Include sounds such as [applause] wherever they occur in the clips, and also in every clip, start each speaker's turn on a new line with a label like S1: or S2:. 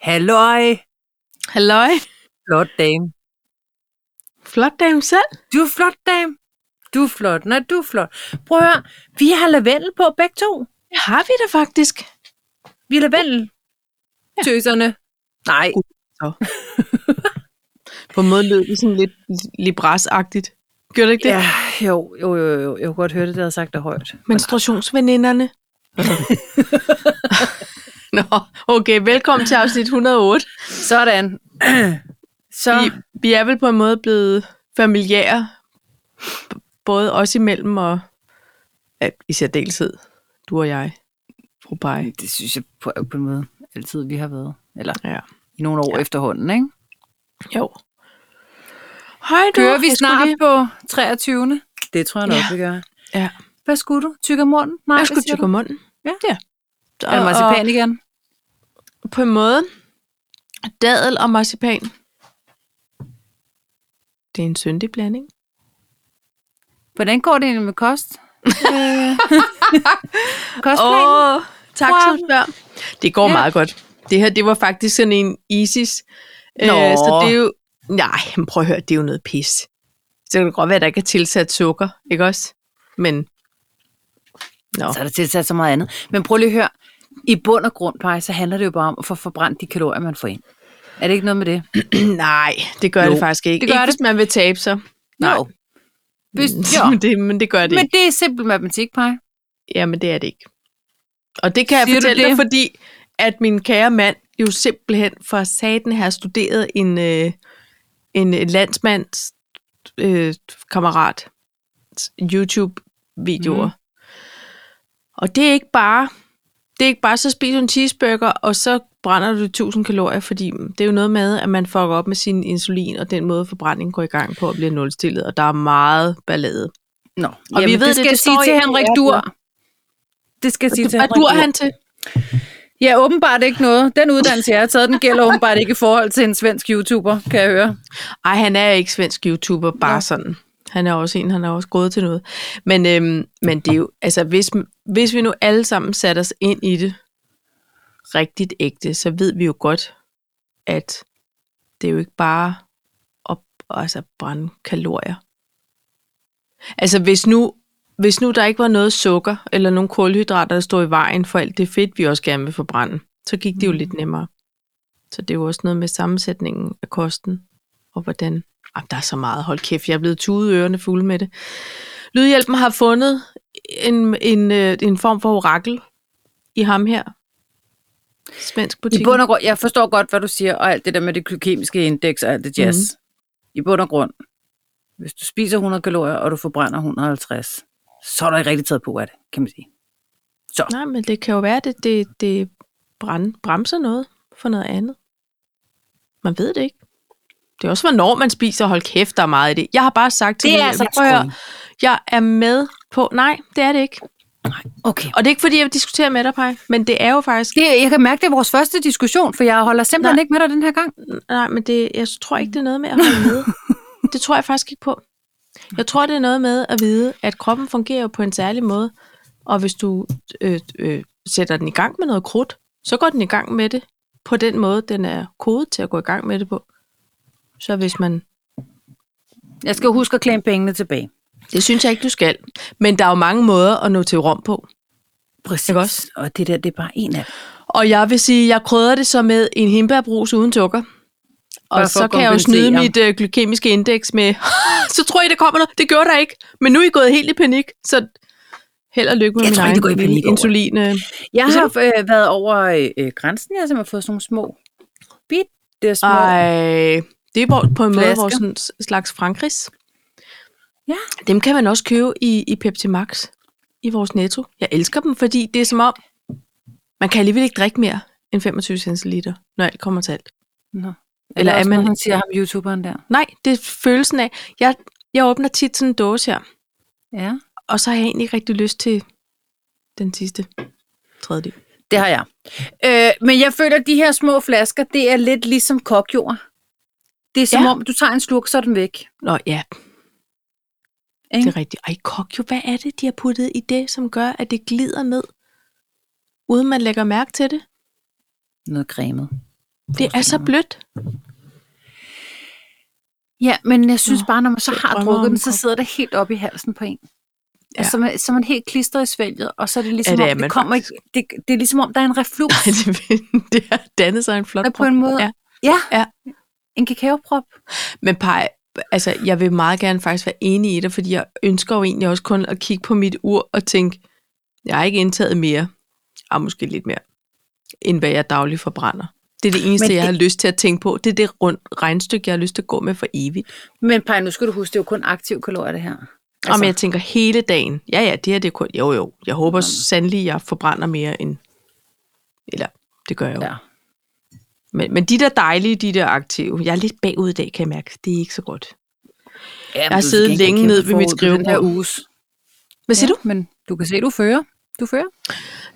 S1: Halløj,
S2: Halløj.
S1: flot dame.
S2: Flot dame selv.
S1: Du er flot dame. Du er flot. Nej, du er flot. Prøv at høre, vi har lavendel på begge to.
S2: Det har vi da faktisk.
S1: Vi er lavendel. Ja. Tøserne. Nej,
S2: På en måde lød det sådan lidt librasagtigt. Gør det ikke det?
S1: ja, jo, jo, jo, jo, jeg kunne godt høre det, der havde sagt det højt.
S2: Menstruationsveninderne. [laughs] Nå, okay. Velkommen til afsnit 108.
S1: Sådan. [clears throat] Så,
S2: Vi, vi er vel på en måde blevet familiære, b- både os imellem og ja, i særdeleshed, du og jeg, fru Bay.
S1: det synes jeg på, på en måde altid, vi har været. Eller
S2: Ja.
S1: i nogle år ja. efterhånden, ikke?
S2: Jo. Hej du.
S1: Kører vi
S2: jeg skulle
S1: snart
S2: lige-
S1: på 23. Det tror jeg nok,
S2: Ja.
S1: vi gør.
S2: Ja.
S1: Hvad skulle du? Tykker munden? Nej,
S2: Jeg skulle tykke munden.
S1: Ja. altså,
S2: ja.
S1: Er det marcipan igen?
S2: og på en måde, dadel og marcipan. Det er en syndig blanding.
S1: Hvordan går det egentlig med kost? Øh, [laughs] Kostplanen? Oh.
S2: Åh, tak
S1: Wow.
S2: som spørger. Det går
S1: Ja.
S2: ja. meget godt. Det her, det var faktisk sådan en ISIS. Øh,
S1: Nå.
S2: så det er jo... Nej, men prøv at høre, det er jo noget pis. Så kan det godt være, at der ikke er tilsat sukker, ikke også? Men
S1: Så er der tilsat så meget andet. Men prøv lige at høre. I bund og grund, Paj, så handler det jo bare om at få forbrændt de kalorier, man får ind. Er det ikke noget med det?
S2: nej, det gør
S1: Jo,
S2: det faktisk ikke.
S1: det gør
S2: ikke,
S1: det.
S2: hvis man vil tabe sig. Nej.
S1: Jo. Hvis,
S2: [laughs]
S1: [laughs] jo.
S2: men, det, men det gør det
S1: Men
S2: ikke.
S1: det er simpel matematik, Paj.
S2: Jamen, det er det ikke. Og det kan jeg
S1: Siger du
S2: fortælle dig,
S1: det?
S2: fordi at min kære mand jo simpelthen for satan har studeret en, øh, en øh, landsmands øh, kammerat YouTube-videoer.
S1: Mhm.
S2: Mm.
S1: Mm-hmm.
S2: Og det er ikke bare, det er ikke bare, så spiser du en cheeseburger, og så brænder du 1000 kalorier, fordi det er jo noget med, at man fucker op med sin insulin, og den måde forbrændingen går i gang på, og bliver nulstillet, og der er meget ballade.
S1: Nå.
S2: Og vi ved
S1: det
S2: det,
S1: skal jeg
S2: det
S1: sige
S2: står
S1: til
S2: i-
S1: Henrik
S2: Ja,
S1: Dur. Det skal jeg sige til
S2: Hvad
S1: Henrik
S2: dur han til?
S1: Ja, åbenbart ikke noget. Den uddannelse, jeg har taget, den gælder åbenbart ikke i forhold til en svensk YouTuber, kan jeg høre.
S2: Ej, han er ikke svensk YouTuber, bare
S1: Nå.
S2: Nå. sådan. Han er også en, han er også gået til noget. Men, øhm, men det er jo, altså hvis, hvis vi nu alle sammen satte os ind i det rigtigt ægte, så ved vi jo godt, at det er jo ikke bare at altså, brænde kalorier. Altså hvis nu, hvis nu der ikke var noget sukker eller nogle kulhydrater, der stod i vejen for alt det fedt, vi også gerne vil forbrænde, så gik
S1: Mm.
S2: det jo lidt nemmere. Så det er jo også noget med sammensætningen af kosten og hvordan... Ah, der er så meget, hold kæft, jeg er blevet tudet ørerne fulde med det. Lydhjælpen har fundet en, en, øh, en form for orakel i ham her. Svensk butik.
S1: I bund og grund, jeg forstår godt, hvad du siger, og alt det der med det glykemiske indeks og alt det jazz. Mm. I bund og grund, hvis du spiser 100 kalorier, og du forbrænder 150, så er der ikke rigtig taget på af det, kan man sige.
S2: Nej, men det kan jo være, at det, det, det brand, bremser noget for noget andet. Man ved det ikke. Det er også, hvornår man spiser. Hold kæft, der er meget i det. Jeg har bare sagt til
S1: Det er
S2: Lydhjælpen,
S1: altså
S2: prøv at høre,
S1: skruing.
S2: jeg er med på... Nej, det er det ikke.
S1: Okay.
S2: Og det er ikke, fordi jeg vil diskutere med dig, Paj, men det er jo faktisk...
S1: Det, jeg kan mærke, det er vores første diskussion, for jeg holder simpelthen Nej. ikke med dig den her gang.
S2: Nej, men det, jeg tror ikke, det er noget med at holde med. Det tror jeg faktisk ikke på. Jeg tror, det er noget med at vide, at kroppen fungerer jo på en særlig måde, og hvis du øh, øh, sætter den i gang med noget krudt, så går den i gang med det på den måde, den er kodet til at gå i gang med det på. Så hvis man...
S1: Jeg skal huske at klemme pengene tilbage.
S2: Det synes jeg ikke, du skal. Men der er jo mange måder at nå til Rom på.
S1: Præcis.
S2: Ikke
S1: Også? Og det der, det er bare en af dem.
S2: Og jeg vil sige, jeg krydder det så med en hindbærbrus uden sukker.
S1: Bare for
S2: Og så
S1: at
S2: kan jeg jo snyde
S1: kompensere.
S2: mit øh, glykemiske indeks med, [laughs] så tror I, der kommer noget. Det gjorde der ikke. Men nu er I gået helt i panik, så held og lykke med
S1: Jeg
S2: min
S1: tror ikke,
S2: egen
S1: det går i panik over
S2: insulin. Øh.
S1: Jeg
S2: Hvad
S1: har øh, været over øh, øh, grænsen, jeg har simpelthen fået sådan nogle små, bitte små.
S2: Ej, det er hvor- på en måde
S1: Flasker.
S2: vores sådan slags frankris.
S1: Ja.
S2: Dem kan man også købe i, i Pepsi Max, i vores netto. Jeg elsker dem, fordi det er som om, man kan alligevel ikke drikke mere end 25 centiliter, når alt kommer til alt.
S1: Nå.
S2: Eller er
S1: også,
S2: man-
S1: når han siger ham, YouTuberen der.
S2: Nej, det er følelsen af, jeg, jeg åbner tit sådan en dåse her,
S1: Ja.
S2: og så har jeg egentlig ikke rigtig lyst til den sidste tredjedel.
S1: Det har jeg. Øh, men jeg føler, at de her små flasker, det er lidt ligesom kokjord. Det er som ja.
S2: Ja.
S1: om, du tager en slurk, så er den væk.
S2: Nå ja, det
S1: Ikke?
S2: er rigtigt. Ej, kok jo, hvad er det, de har puttet i det, som gør, at det glider ned, uden man lægger mærke til det?
S1: Noget cremet.
S2: Det er så [laughs] blødt.
S1: Ja, men jeg synes bare, når man så
S2: jeg
S1: har
S2: drømmer om
S1: drukket den,
S2: en
S1: så
S2: kop.
S1: sidder det helt op i halsen på en.
S2: Ja.
S1: Ja. Altså, man, så er man helt klistret i svælget, og så er det ligesom,
S2: det
S1: ja,
S2: er
S1: det om,
S2: man
S1: det kommer ikke, det, det er ligesom om, der er en [laughs] reflux
S2: Nej, det, det har dannet sig en flot
S1: på en måde.
S2: Ja.
S1: ja.
S2: Ja.
S1: En kakaoprop.
S2: Men Paj, altså, jeg vil meget gerne faktisk være enig i dig, fordi jeg ønsker jo egentlig også kun at kigge på mit ur og tænke, jeg har ikke indtaget mere, og måske lidt mere, end hvad jeg dagligt forbrænder. Det er det eneste, det...
S1: det-
S2: jeg har lyst til at tænke på. Det er det rundt regnstykke, jeg har lyst til at gå med for evigt.
S1: Men Paj, nu skal du huske, det er jo kun aktiv kalorier, det her.
S2: Altså... Mm. Om jeg tænker hele dagen, ja ja, det her det er kun, jo jo, jeg håber
S1: Nå.
S2: sandelig, jeg forbrænder mere end, eller det gør jeg jo. Ja.
S1: ja.
S2: Men, men de der dejlige, de der aktive, jeg er lidt bagud i dag, kan jeg mærke, det er ikke så godt.
S1: Ja,
S2: har siddet længe ned ved mit
S1: her
S2: skrivebord.
S1: uges.
S2: Hvad siger ja. du?
S1: Men du kan se, du fører. Du fører.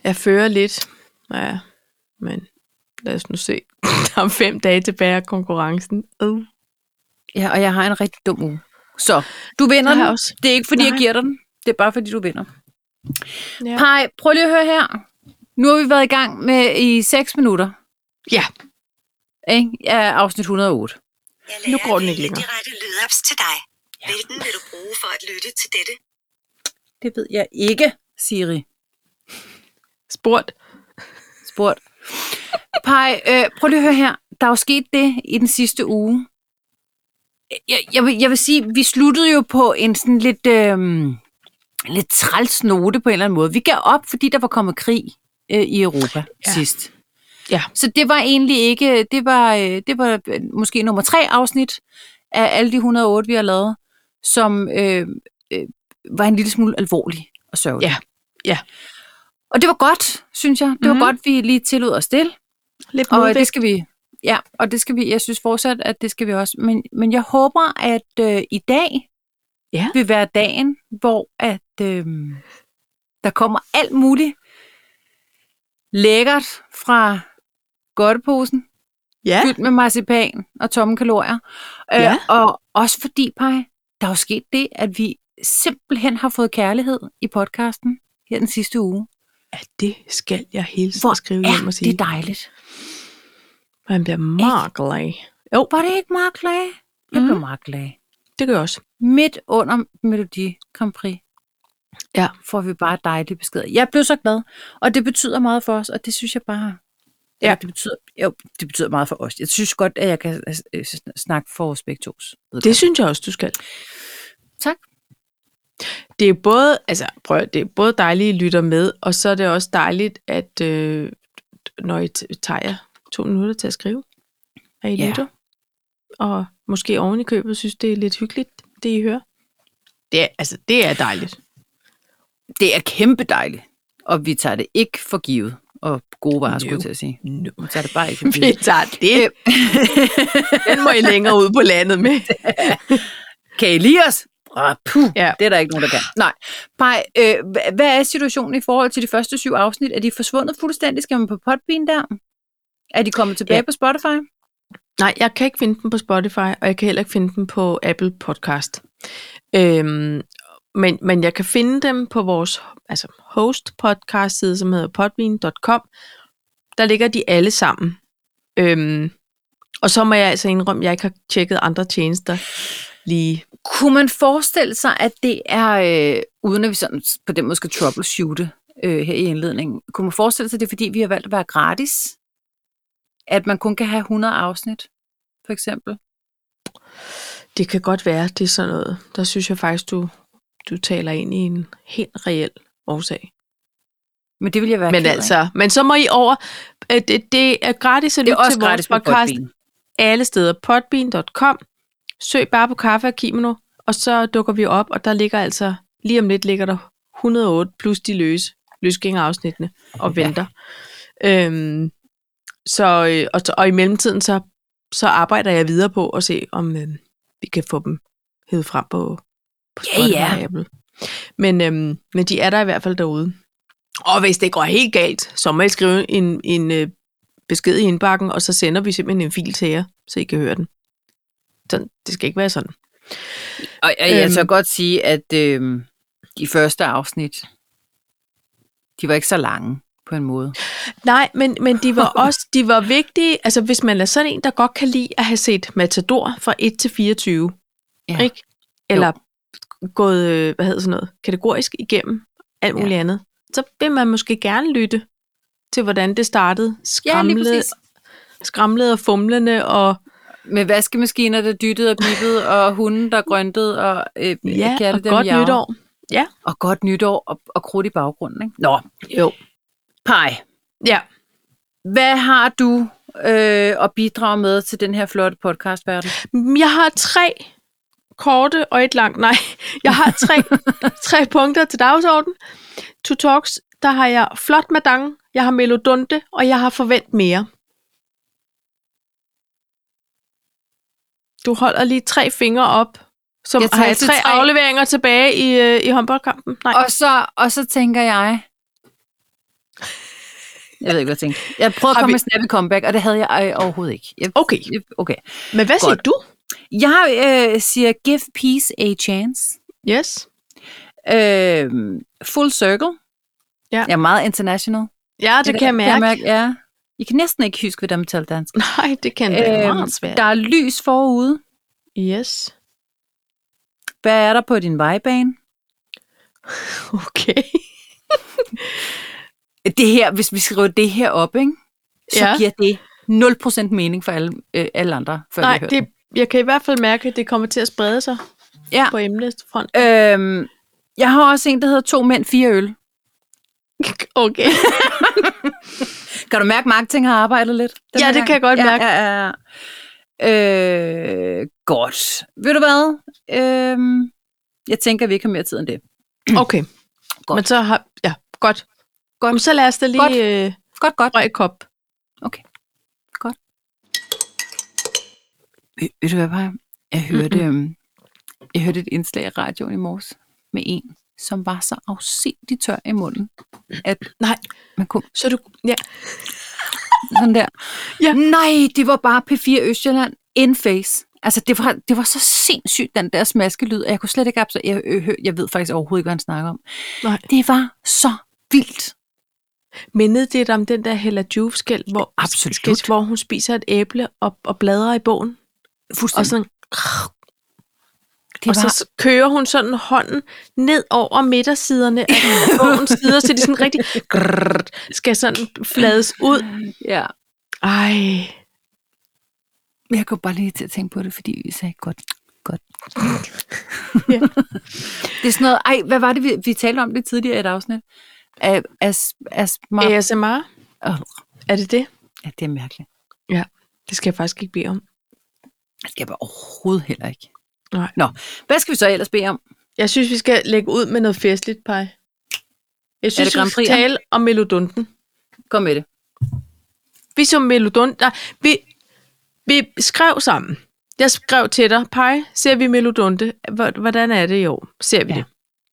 S2: Jeg fører lidt. Ja, men lad os nu se. [laughs] Der er fem dage tilbage af konkurrencen. Uh.
S1: Ja, og jeg har en rigtig dum uge. Så, du vinder
S2: Jeg har
S1: den.
S2: også.
S1: Det er ikke, fordi Nej.
S2: Nej.
S1: jeg giver dig den. Det er bare, fordi du vinder.
S2: Ja.
S1: Pej, prøv lige at høre her. Nu har vi været i gang med i 6 minutter
S2: ja,
S1: ikke? af afsnit 108.
S3: Jeg lærer
S2: Nu går den
S3: at
S2: ikke
S3: vælge
S2: længere.
S3: de rette lydapps til dig. Ja. Hvilken vil du bruge for at lytte til dette?
S1: Det ved jeg ikke, Siri
S2: spurgt.
S1: spurgt. Pej, øh, prøv lige at høre her. Der er jo sket det i den sidste uge. Jeg, jeg, vil, jeg vil sige, vi sluttede jo på en sådan lidt, øh, lidt træls note på en eller anden måde. Vi gav op, fordi der var kommet krig øh, i Europa
S2: Ja.
S1: ja. sidst.
S2: Ja.
S1: Så det var egentlig ikke, det var, øh, det var øh, måske nummer tre afsnit af alle de 108, vi har lavet, som øh, øh, var en lille smule alvorlig og sørgelig.
S2: Ja. Ja.
S1: Og det var godt, synes jeg. Det var
S2: Mhm.
S1: mm-hmm. godt, vi lige tillod os det.
S2: Lidt
S1: Og
S2: modvægt.
S1: det skal vi, ja, og det skal vi, jeg synes fortsat, at det skal vi også. Men, men jeg håber, at øh, i dag
S2: Ja.
S1: vil være dagen, hvor at, øh, der kommer alt muligt lækkert fra godteposen,
S2: ja.
S1: fyldt med marcipan og tomme kalorier. Øh,
S2: Ja.
S1: og også fordi, Paj, der er jo sket det, at vi simpelthen har fået kærlighed i podcasten her den sidste uge.
S2: ja, det skal jeg hele tiden
S1: Hvor
S2: skrive hjem
S1: Ja,
S2: og sige.
S1: det er dejligt.
S2: Man bliver meget glad. Jo,
S1: Var det ikke meget glad? Jeg
S2: Mhm.
S1: blev meget glad.
S2: det gør jeg også.
S1: midt under Melodi Grand Prix,
S2: Ja.
S1: får vi bare dejlige beskeder. Jeg blev så glad, og det betyder meget for os, og det synes jeg bare...
S2: Ja.
S1: Eller Det betyder, jo, det betyder meget for os. Jeg synes godt, at jeg kan øh, snakke for os begge tos.
S2: Det synes jeg også, du skal.
S1: Tak.
S2: Det er både, altså prøv, at- det er både dejligt at lytte med, og så er det også dejligt, at øh, når I t- tager jer to minutter til at skrive, at I
S1: Ja.
S2: lytter. Og måske oven i købet synes, det er lidt hyggeligt, det I hører. Det er, altså, det er dejligt.
S1: Det er kæmpe dejligt, og vi tager det ikke for givet. Og gode varer, skulle
S2: No.
S1: jeg til at sige.
S2: No.
S1: Vi tager det bare
S2: [laughs]
S1: ikke for
S2: Vi
S1: givet.
S2: tager det. [laughs] Den må I længere ud på landet med.
S1: kan I lide os? Oh, puh,
S2: Ja.
S1: ja. Det er der ikke nogen, der kan. Nej. Pej, øh, hva- hvad er situationen i forhold til de første syv afsnit? Er de forsvundet fuldstændig? Skal man på Podbean der? Er de kommet tilbage
S2: Ja.
S1: ja. på Spotify?
S2: Nej, jeg kan ikke finde den på Spotify, og jeg kan heller ikke finde den på Apple Podcast. Øhm, men, men jeg kan finde dem på vores altså host podcast side, som hedder podbean.com. Der ligger de alle sammen. Øhm, og så må jeg altså indrømme, at jeg ikke har tjekket andre tjenester lige.
S1: Kunne man forestille sig, at det er, øh, uden at vi sådan på den måde skal troubleshoote øh, her i indledningen, kunne man forestille sig, at det er fordi, vi har valgt at være gratis? At man kun kan have 100 afsnit, for eksempel?
S2: Det kan godt være, det er sådan noget. Der synes jeg faktisk, du, du taler ind i en helt reel årsag.
S1: Men det vil jeg være
S2: Men
S1: ked af.
S2: altså, men så må I over. øh, Det, det er gratis at
S1: det er
S2: lytte
S1: også
S2: til vores
S1: gratis på
S2: podcast.
S1: Podbean.
S2: alle steder. Podbean.com. Søg bare på kaffe og kimono, og så dukker vi op, og der ligger altså, lige om lidt ligger der 108 plus de løse løsgængerafsnittene og
S1: Ja.
S2: venter. Ja. Øhm, så, øh, og, så- og i mellemtiden, så, så arbejder jeg videre på at se, om øh, vi kan få dem hævet frem på, på
S1: Ja,
S2: Spotify
S1: ja.
S2: og Apple. Men, øhm, men de er der i hvert fald derude. Og hvis det går helt galt, så må I skrive en, en øh, besked i indbakken, og så sender vi simpelthen en fil til jer, så I kan høre den. Sådan, det skal ikke være sådan.
S1: Og jeg, jeg
S2: Øhm.
S1: tør godt øhm, sige, at øh, de første afsnit, de var ikke så lange. på en måde.
S2: Nej, men, men de [laughs] var også de var vigtige. Altså, hvis man er sådan en, der godt kan lide at have set Matador fra 1 til 24,
S1: Ja.
S2: ja. ikke? Eller jo. gået, øh, hvad hedder sådan noget, kategorisk igennem alt muligt ja. andet, så vil man måske gerne lytte til, hvordan det startede. Skramlede,
S1: præcis.
S2: skramlede og fumlende og,
S1: Med vaskemaskiner, der dyttede og bippede, og hunde, der grøntede, og øh,
S2: ja,
S1: katte,
S2: og
S1: der
S2: godt
S1: miaver.
S2: nytår.
S1: Og godt nytår, og, og krudt i baggrunden. Ikke? Nå,
S2: Jo.
S1: Pej,
S2: Ja.
S1: hvad har du øh, at bidrage med til den her flotte podcastverden?
S2: Jeg har tre korte og et langt. Nej, [laughs] jeg har tre, tre punkter til dagsordenen. To Talks, der har jeg Flot Madang, jeg har Melodunde, og jeg har Forvent Mere. Du holder lige tre fingre op, som
S1: Jeg tager
S2: har jeg
S1: altid
S2: tre,
S1: tre.
S2: afleveringer tilbage i, øh, i håndboldkampen. Nej,
S1: Og så, og så tænker jeg... Jeg ved ikke, hvad jeg tænkte. Jeg prøvede at
S2: Har
S1: komme
S2: vi-
S1: med snappy comeback, og det havde jeg øh, overhovedet ikke. Jeg,
S2: Okay.
S1: Jeg, okay.
S2: men hvad siger
S1: godt.
S2: du?
S1: Jeg øh, siger, give peace a chance.
S2: Yes.
S1: Øh, full circle.
S2: Ja.
S1: Jeg er meget international.
S2: Ja, det, kan jeg mærke.
S1: ja. Jeg kan næsten ikke huske, hvordan man taler dansk.
S2: [laughs]
S1: Øhm,
S2: Nej, det kan være meget svært.
S1: der er lys forude.
S2: Yes. [laughs]
S1: Hvad er der på din vejbane?
S2: Okay.
S1: Det her, hvis vi skriver det her op, ikke? så
S2: Ja.
S1: giver det 0% mening for alle, øh, alle andre, før vi
S2: Nej,
S1: har hørt
S2: det, jeg kan i hvert fald mærke, at det kommer til at sprede sig
S1: Ja.
S2: på emnefront. [laughs]
S1: Øhm, jeg har også en, der hedder To Mænd, Fire Øl.
S2: [coughs] Okay.
S1: Kan du mærke, at marketing har arbejdet lidt? den
S2: Ja,
S1: her
S2: det
S1: gang?
S2: kan jeg godt
S1: ja,
S2: mærke.
S1: Ja, ja, ja. Øh, godt. Ved du hvad? Øhm, jeg tænker, vi ikke har mere tid end det.
S2: Okay.
S1: Godt.
S2: Godt. Men så har... Ja, godt. godt. Men så lad os da
S1: Godt.
S2: lige øh,
S1: Godt, godt.
S2: røg kop.
S1: Ved, ved du hvad, Paj? Jeg hørte, mm-hmm. jeg hørte et indslag i radioen i morges med en, som var så afsindig tør i munden, at
S2: Nej,
S1: man kunne
S2: så du... Ja.
S1: sådan der.
S2: Ja.
S1: Nej, det var bare P4 Østjylland in face. Altså, det var, det var så sindssygt, den der smaskelyd, og jeg kunne slet ikke absor- jeg, jeg, jeg ved faktisk overhovedet ikke, hvad han snakker om.
S2: Nej.
S1: Det var så vildt.
S2: Mindede det dig om den der Hella Juve skæld, hvor,
S1: Absolut.
S2: sketch, hvor hun spiser et æble og, og bladrer i bogen? Og,
S1: Fuldstændig.
S2: sådan,
S1: det
S2: og så s- kører hun sådan hånden ned over midtersiderne af [laughs] bogens sider, så de sådan rigtig [laughs] grrrt, skal sådan flades ud.
S1: ja.
S2: Ej,
S1: Men Jeg kunne bare lige til at tænke på det, fordi vi sagde godt, [laughs] godt.
S2: Ja.
S1: det er sådan noget, ej, hvad var det, vi, vi talte om det tidligere i et afsnit? Af, as, as, ma- ja.
S2: ASMR,
S1: Oh,
S2: er det det?
S1: ja, det er mærkeligt.
S2: Det skal jeg faktisk ikke bede om.
S1: Det skal jeg bare overhovedet heller ikke.
S2: Nej.
S1: Nå, hvad skal vi så ellers bede om?
S2: Jeg synes, vi skal lægge ud med noget festligt, Paj. Jeg
S1: det
S2: synes, vi
S1: Grand
S2: skal
S1: Prix'er?
S2: tale om melodunden.
S1: Kom med det.
S2: Vi som melodund... Nej, vi, vi skrev sammen. Jeg skrev til dig, Paj, ser vi melodunde? Hvor- Hvordan er det i år? Ser vi
S1: Ja.
S2: det?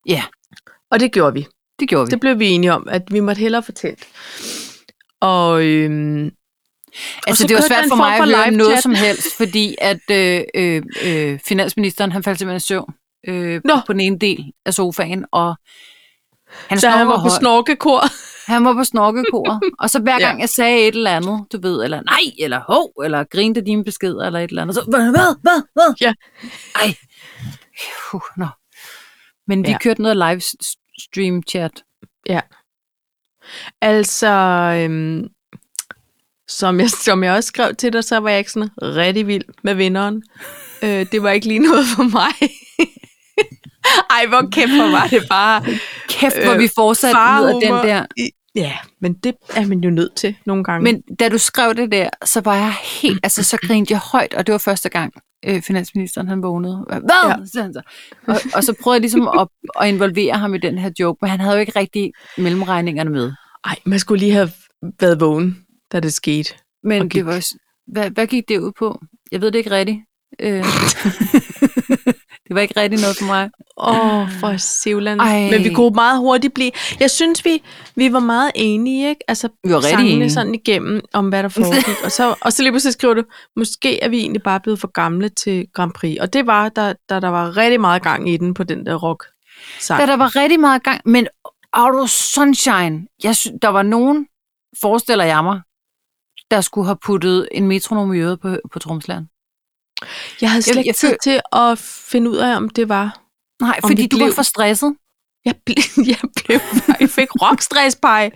S1: Ja,
S2: Og det gjorde vi.
S1: det gjorde vi.
S2: Det blev vi enige om, at vi måtte hellere fortælle. Og øhm,
S1: altså,
S2: så
S1: det var
S2: kørte der
S1: svært
S2: en
S1: for
S2: form
S1: mig
S2: for
S1: at høre
S2: live
S1: noget
S2: chat.
S1: som helst, fordi at øh, øh, øh, finansministeren, han faldt simpelthen i søvn øh,
S2: Nå.
S1: på den ene del af sofaen, og han
S2: da han var på
S1: højt.
S2: snorkekor.
S1: Han var på snorkekoret, [laughs] og så hver
S2: Ja.
S1: gang jeg sagde et eller andet, du ved, eller nej, eller hov, eller grinte af dine beskeder, eller et eller andet, så hvad, hvad, hvad, hvad?
S2: Ja.
S1: Ej. Puh, nå. Men vi ja.
S2: Ja.
S1: kørte noget live s- stream chat.
S2: Altså, øhm, som, jeg, som jeg også skrev til dig, så var jeg ikke sådan rigtig vild med vinderen. Øh, det var ikke lige noget for mig. [laughs] Ej, hvor kæft, hvor var det bare.
S1: Kæft, hvor øh, vi fortsat ud af den
S2: farhumor
S1: der.
S2: i- Ja, men det er man jo nødt til nogle gange.
S1: Men da du skrev det der, så var jeg helt, altså så grinte jeg højt, og det var første gang, øh, finansministeren han vågnede. Hvad? Ja.
S2: Ja.
S1: Så han så. Og, og så prøvede jeg ligesom at, at involvere ham i den her joke, men han havde jo ikke rigtig mellemregningerne med.
S2: Ej, man skulle lige have været vågen, da det skete.
S1: Men
S2: Og
S1: det
S2: gik.
S1: var også, hvad, hvad gik det ud på? Jeg ved det ikke rigtigt. [laughs] Øh, det var ikke rigtigt noget for mig.
S2: Åh, oh, for Sivland.
S1: Ej.
S2: Men vi kunne meget hurtigt blive... Jeg synes, vi, vi var meget enige, ikke? Altså,
S1: Vi var rigtig
S2: sangene
S1: enige.
S2: sådan igennem, om hvad der foregik. og, så, og så lige pludselig skriver du, måske er vi egentlig bare blevet for gamle til Grand Prix. Og det var, da, da der var rigtig meget gang i den på den der rock
S1: Da
S2: sang.
S1: der var rigtig meget gang, men Auto Sunshine. Jeg sy- der var nogen, forestiller jeg mig, der skulle have puttet en metronom i øret på, på tromslæren.
S2: Jeg havde
S1: Jeg-
S2: slet
S1: jeg
S2: ikke tid
S1: føl-
S2: til at finde ud af, om det var...
S1: Nej,
S2: Om
S1: fordi
S2: vi
S1: du blev... var
S2: blev-
S1: for stresset.
S2: Jeg, ble- jeg, blev, [laughs] jeg fik rockstresspege.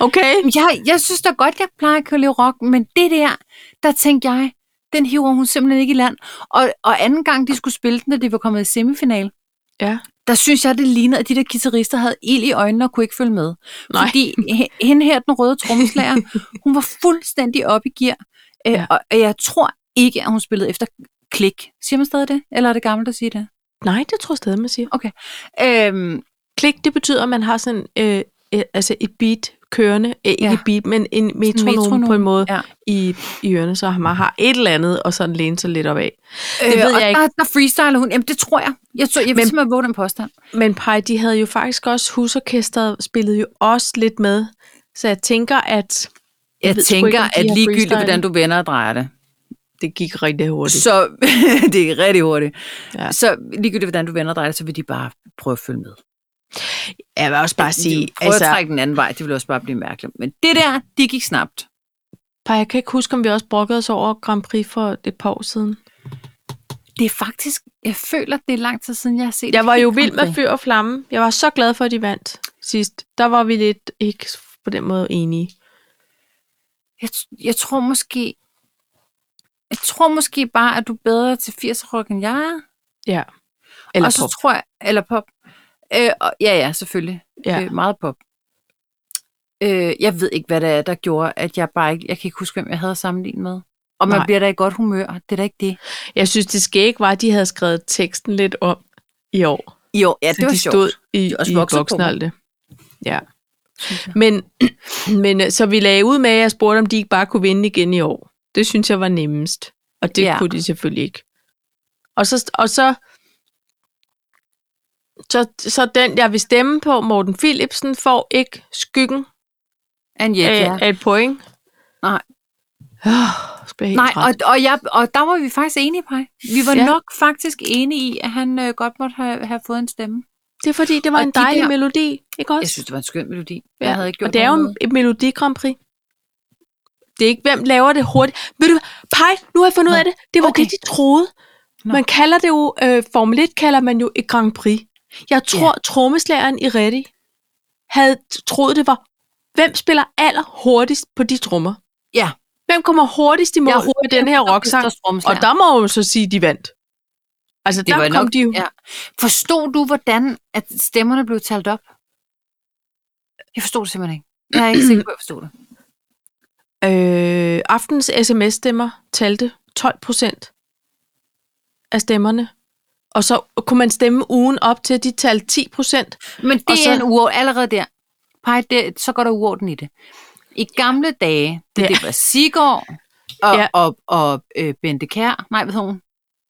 S2: Okay?
S1: Jeg, jeg synes da godt, jeg plejer at kunne lide rock, men det der, der tænkte jeg, den hiver hun simpelthen ikke i land. Og, og anden gang, de skulle spille den, da de var kommet i semifinal,
S2: Ja.
S1: der synes jeg, det lignede, at de der guitarister havde ild i øjnene og kunne ikke følge med.
S2: Nej.
S1: Fordi h- hende her, den røde trommeslager,
S2: [laughs]
S1: hun var fuldstændig op i gear. Øh,
S2: Ja.
S1: Og og jeg tror ikke, at hun spillede efter klik. Siger man stadig det? Eller er det gammelt at sige det?
S2: Nej, det tror jeg stadig, man siger.
S1: Øhm,
S2: Klik, det betyder, at man har sådan øh, øh, altså et beat kørende. Øh, ikke
S1: Ja.
S2: ja. et beat, men en metronom,
S1: metronom,
S2: på en måde
S1: ja.
S2: ja. i, i ørerne, så man har et eller andet, og sådan læne sig lidt opad.
S1: det
S2: ved
S1: Øh, og
S2: jeg ikke.
S1: Der, der freestyler hun. Jamen, det tror jeg. Jeg, tror, jeg vil
S2: Men-
S1: simpelthen våge den påstand.
S2: Men Pej, de havde jo faktisk også, husorkestret spillede jo også lidt med, så jeg tænker, at
S1: Jeg, jeg
S2: ved sgu ikke,
S1: tænker,
S2: om de
S1: at
S2: har
S1: ligegyldigt,
S2: freestylet.
S1: hvordan du vender og drejer det,
S2: det gik rigtig hurtigt. Så,
S1: så [laughs] det er rigtig hurtigt. Ja.
S2: Ja.
S1: Så ligegyldigt, hvordan du vender og drejer det, så vil de bare prøve at følge med.
S2: jeg vil også bare sige,
S1: prøve altså, at
S2: altså,
S1: trække den anden vej, det ville også bare blive mærkeligt. Men det der, det gik snabt.
S2: Pej, jeg kan ikke huske, om vi også brokkede os over Grand Prix for et par år siden.
S1: Det er faktisk, jeg føler, det er lang tid siden, jeg har set
S2: Jeg var
S1: et
S2: jo
S1: Grand
S2: vild med
S1: Prix.
S2: fyr og flamme. Jeg var så glad for, at de vandt sidst. Der var vi lidt ikke på den måde enige.
S1: Jeg, t- jeg tror måske, jeg tror måske bare, at du er bedre til 80 rock end jeg er.
S2: Ja. Eller
S1: og så
S2: pop.
S1: tror jeg, eller pop. Øh, og, ja, ja, selvfølgelig.
S2: Ja.
S1: Øh, meget pop. Øh, jeg ved ikke, hvad det er, der gjorde, at jeg bare ikke, jeg kan ikke huske, hvem jeg havde sammenlignet med. Og man Nej.
S2: Nej.
S1: bliver da i godt humør, det er da ikke det.
S2: Jeg synes, det skæg var, at de havde skrevet teksten lidt om i år.
S1: Jo, ja,
S2: så de stod i,
S1: er også
S2: i
S1: vokset på
S2: boksen
S1: mig.
S2: og alt det. Ja. Men, [clears throat] men øh, så vi lagde ud med, at jeg spurgte, om de ikke bare kunne vinde igen i år. Det synes jeg var nemmest. Og det
S1: Ja.
S2: ja. kunne de selvfølgelig ikke. Og så, og så, så, så den, jeg vil stemme på, Morten Philipsen, får ikke skyggen
S1: And yet,
S2: af,
S1: ja.
S2: af et point.
S1: Nej.
S2: Oh, skal jeg helt
S1: Nej,
S2: træt.
S1: og, og, jeg, og der var vi faktisk enige, Paj. Vi var ja.
S2: Ja.
S1: nok faktisk enige i, at han øh, godt måtte have, have fået en stemme.
S2: Det er fordi, det var
S1: og
S2: en
S1: de
S2: dejlig
S1: der-
S2: der... melodi, ikke også?
S1: Jeg synes, det var en skøn melodi.
S2: Ja,
S1: Jeg havde ikke gjort
S2: og det er jo
S1: noget
S2: en-
S1: med.
S2: et Melodi Grand Prix. Det er ikke, hvem laver det hurtigt. Ved du hvad? Pej, nu har jeg fundet ud
S1: Nå,
S2: af det. Det var
S1: okay.
S2: okay. det, de troede.
S1: Nå.
S2: Man kalder det jo, øh, Formel 1 kalder man jo et Grand Prix. Jeg tror, ja. trommeslæren i Reddy havde t- troet, det var, hvem spiller aller hurtigst på de trommer?
S1: Ja.
S2: Hvem kommer hurtigst i mål
S1: Jeg er
S2: med den her rocksang? Og
S1: Og
S2: der må man jo så sige, de vandt. Altså, det der
S1: var
S2: var kom
S1: nok-
S2: de jo.
S1: ja. Forstod du, hvordan at stemmerne blev talt op? Jeg forstod det simpelthen ikke. Jeg er ikke sikker på, at jeg forstod det.
S2: Øh, aftens sms-stemmer talte 12 procent af stemmerne. Og så kunne man stemme ugen op til, at de talte 10 procent.
S1: Men det
S2: Og
S1: så,
S2: så-
S1: er en uord allerede der. Pej, det, så går der uorden i det. I gamle dage, da
S2: Ja.
S1: det var Sigård og, ja.
S2: Ja.
S1: og, og, og øh, Bente Kær, nej, hvad hed hun?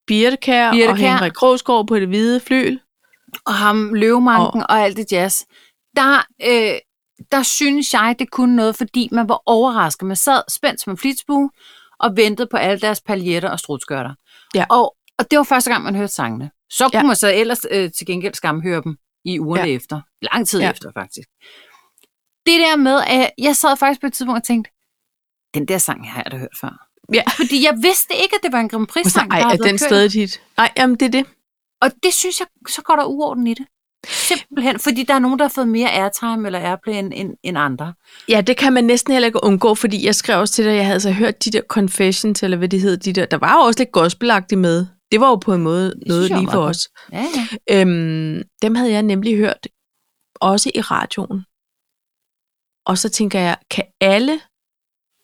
S2: Birte Kjær
S1: Birthe
S2: og
S1: Kjær.
S2: Henrik Krogsgaard på det hvide flyl.
S1: og ham, løvemanken og, og alt det jazz, der, øh, der synes jeg, det kunne noget, fordi man var overrasket. Man sad spændt som en flitsbue og ventede på alle deres paljetter og strutskørter.
S2: Ja.
S1: Og, og det var første gang, man hørte sangene. Så kunne
S2: Ja.
S1: ja. man så ellers øh, til gengæld skamhøre dem i ugerne ja.
S2: Ja.
S1: efter. Lang tid ja.
S2: Ja.
S1: efter, faktisk. Det der med, at jeg sad faktisk på et tidspunkt og tænkte, den der sang har jeg da hørt før.
S2: Ja.
S1: Fordi jeg vidste ikke, at det var en Grand
S2: Så,
S1: Prix-sang,
S2: ej,
S1: der har
S2: er
S1: været
S2: den
S1: kørt.
S2: stadig dit? Nej, jamen det er det.
S1: Og det synes jeg, så går der uorden i det. Simpelthen, fordi der er nogen, der har fået mere airtime eller airplay end, end, end andre.
S2: Ja, det kan man næsten heller ikke undgå, fordi jeg skrev også til dig, at jeg havde så hørt de der confessions, eller hvad de hed, de der. Der var jo også lidt gospelagtigt med. Det var jo på en måde noget
S1: jeg var
S2: lige for
S1: meget
S2: os.
S1: Ja, ja.
S2: Øhm, dem havde jeg nemlig hørt, også i radioen. Og så tænker jeg, kan alle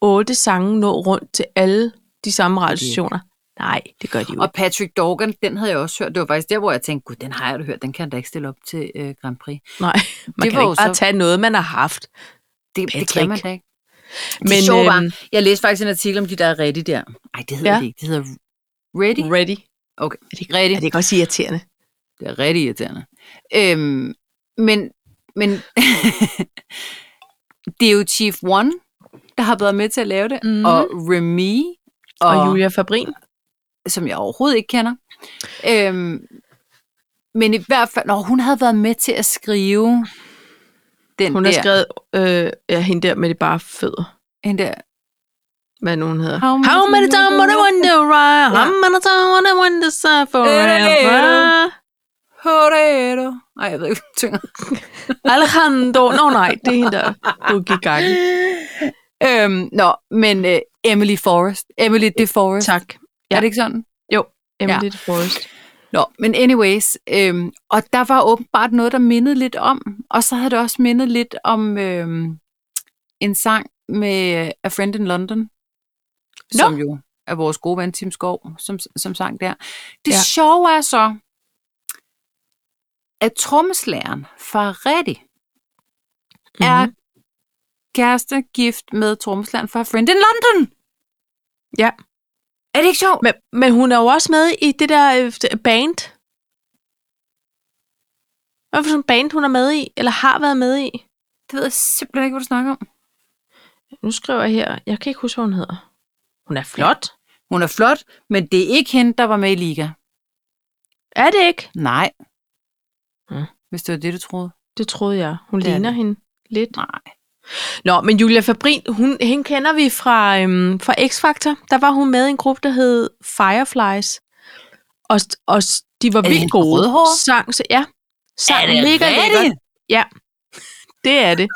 S2: otte sange nå rundt til alle de samme radiostationer? Nej, det gør de jo
S1: Og
S2: ikke.
S1: Patrick Dorgan, den havde jeg også hørt. Det var faktisk der, hvor jeg tænkte, gud, den har jeg da hørt, den kan jeg da ikke stille op til øh, Grand Prix.
S2: Nej, man
S1: det
S2: det
S1: var
S2: kan ikke
S1: jo
S2: bare
S1: så-
S2: tage noget, man har haft.
S1: Det, det kan
S2: Patrick.
S1: man da ikke. Men, det
S2: Men,
S1: sjove var,
S2: øhm,
S1: jeg læste faktisk en artikel om de der ready der. Nej, det hedder
S2: Ja.
S1: det ikke. Det hedder ready.
S2: Ready.
S1: Okay,
S2: Er det, ikke,
S1: ready.
S2: er det ikke også irriterende?
S1: Det er rigtig irriterende. Øhm, men men [laughs] det er jo Chief One, der har været med til at lave det,
S2: Mhm.
S1: mm. og Remy, og, og
S2: Og, og
S1: Julia.
S2: Julia Fabrin?
S1: som jeg overhovedet ikke kender. Øhm, men i hvert fald, når hun havde været med til at skrive den
S2: Hun
S1: der,
S2: har skrevet, øh, ja, hende der med de bare fødder.
S1: den der
S2: Hvad nogen hedder.
S1: How many
S2: How many times
S1: times
S2: I wonder why? How
S1: Ja.
S2: many times I wonder so
S1: Øh.
S2: forever?
S1: Potato. Nej, jeg ved ikke, hvad tynger.
S2: Alejandro. Nå nej, det er hende der. Du gik gang.
S1: Øhm, nå, men øh, Emily Forrest. Emily de Forrest.
S2: Tak.
S1: Ja. Er det ikke sådan?
S2: Emily ja. Forrest.
S1: Nå, men anyways. Øhm, og der var åbenbart noget, der mindede lidt om. Og så havde det også mindet lidt om øhm, en sang med øh, A Friend in London. Som jo er vores gode ven Tim Skov, som, som sang der. Det
S2: Ja.
S1: ja. sjove er så, at trommeslæren Faretti mm-hmm. er
S2: Mhm.
S1: kæreste gift med trommeslæren fra Friend in London.
S2: Ja.
S1: Er det ikke sjovt?
S2: Men, men hun er jo også med i det der øh, band. Hvad for sådan en band, hun er med i? Eller har været med i?
S1: Det ved jeg simpelthen ikke, hvad du snakker om.
S2: Nu skriver jeg her. Jeg kan ikke huske, hvad hun hedder. Hun er flot.
S1: Hun er flot, men det er ikke hende, der var med i Liga.
S2: Er det ikke?
S1: Nej.
S2: Mm.
S1: Hvis det var det, du troede.
S2: Det troede jeg. Hun
S1: Det er
S2: ligner
S1: det.
S2: hende lidt.
S1: Nej.
S2: Nå, men Julia Fabrin, hun, hende kender vi fra, øhm, fra X-Factor. Der var hun med i en gruppe, der hed Fireflies. Og, og de var
S1: det
S2: vildt
S1: hende
S2: gode.
S1: med rødhår?
S2: Sang, så, ja. Sang
S1: Er det
S2: ligger
S1: rigtigt?
S2: lækkert. Ja, [laughs] det er det.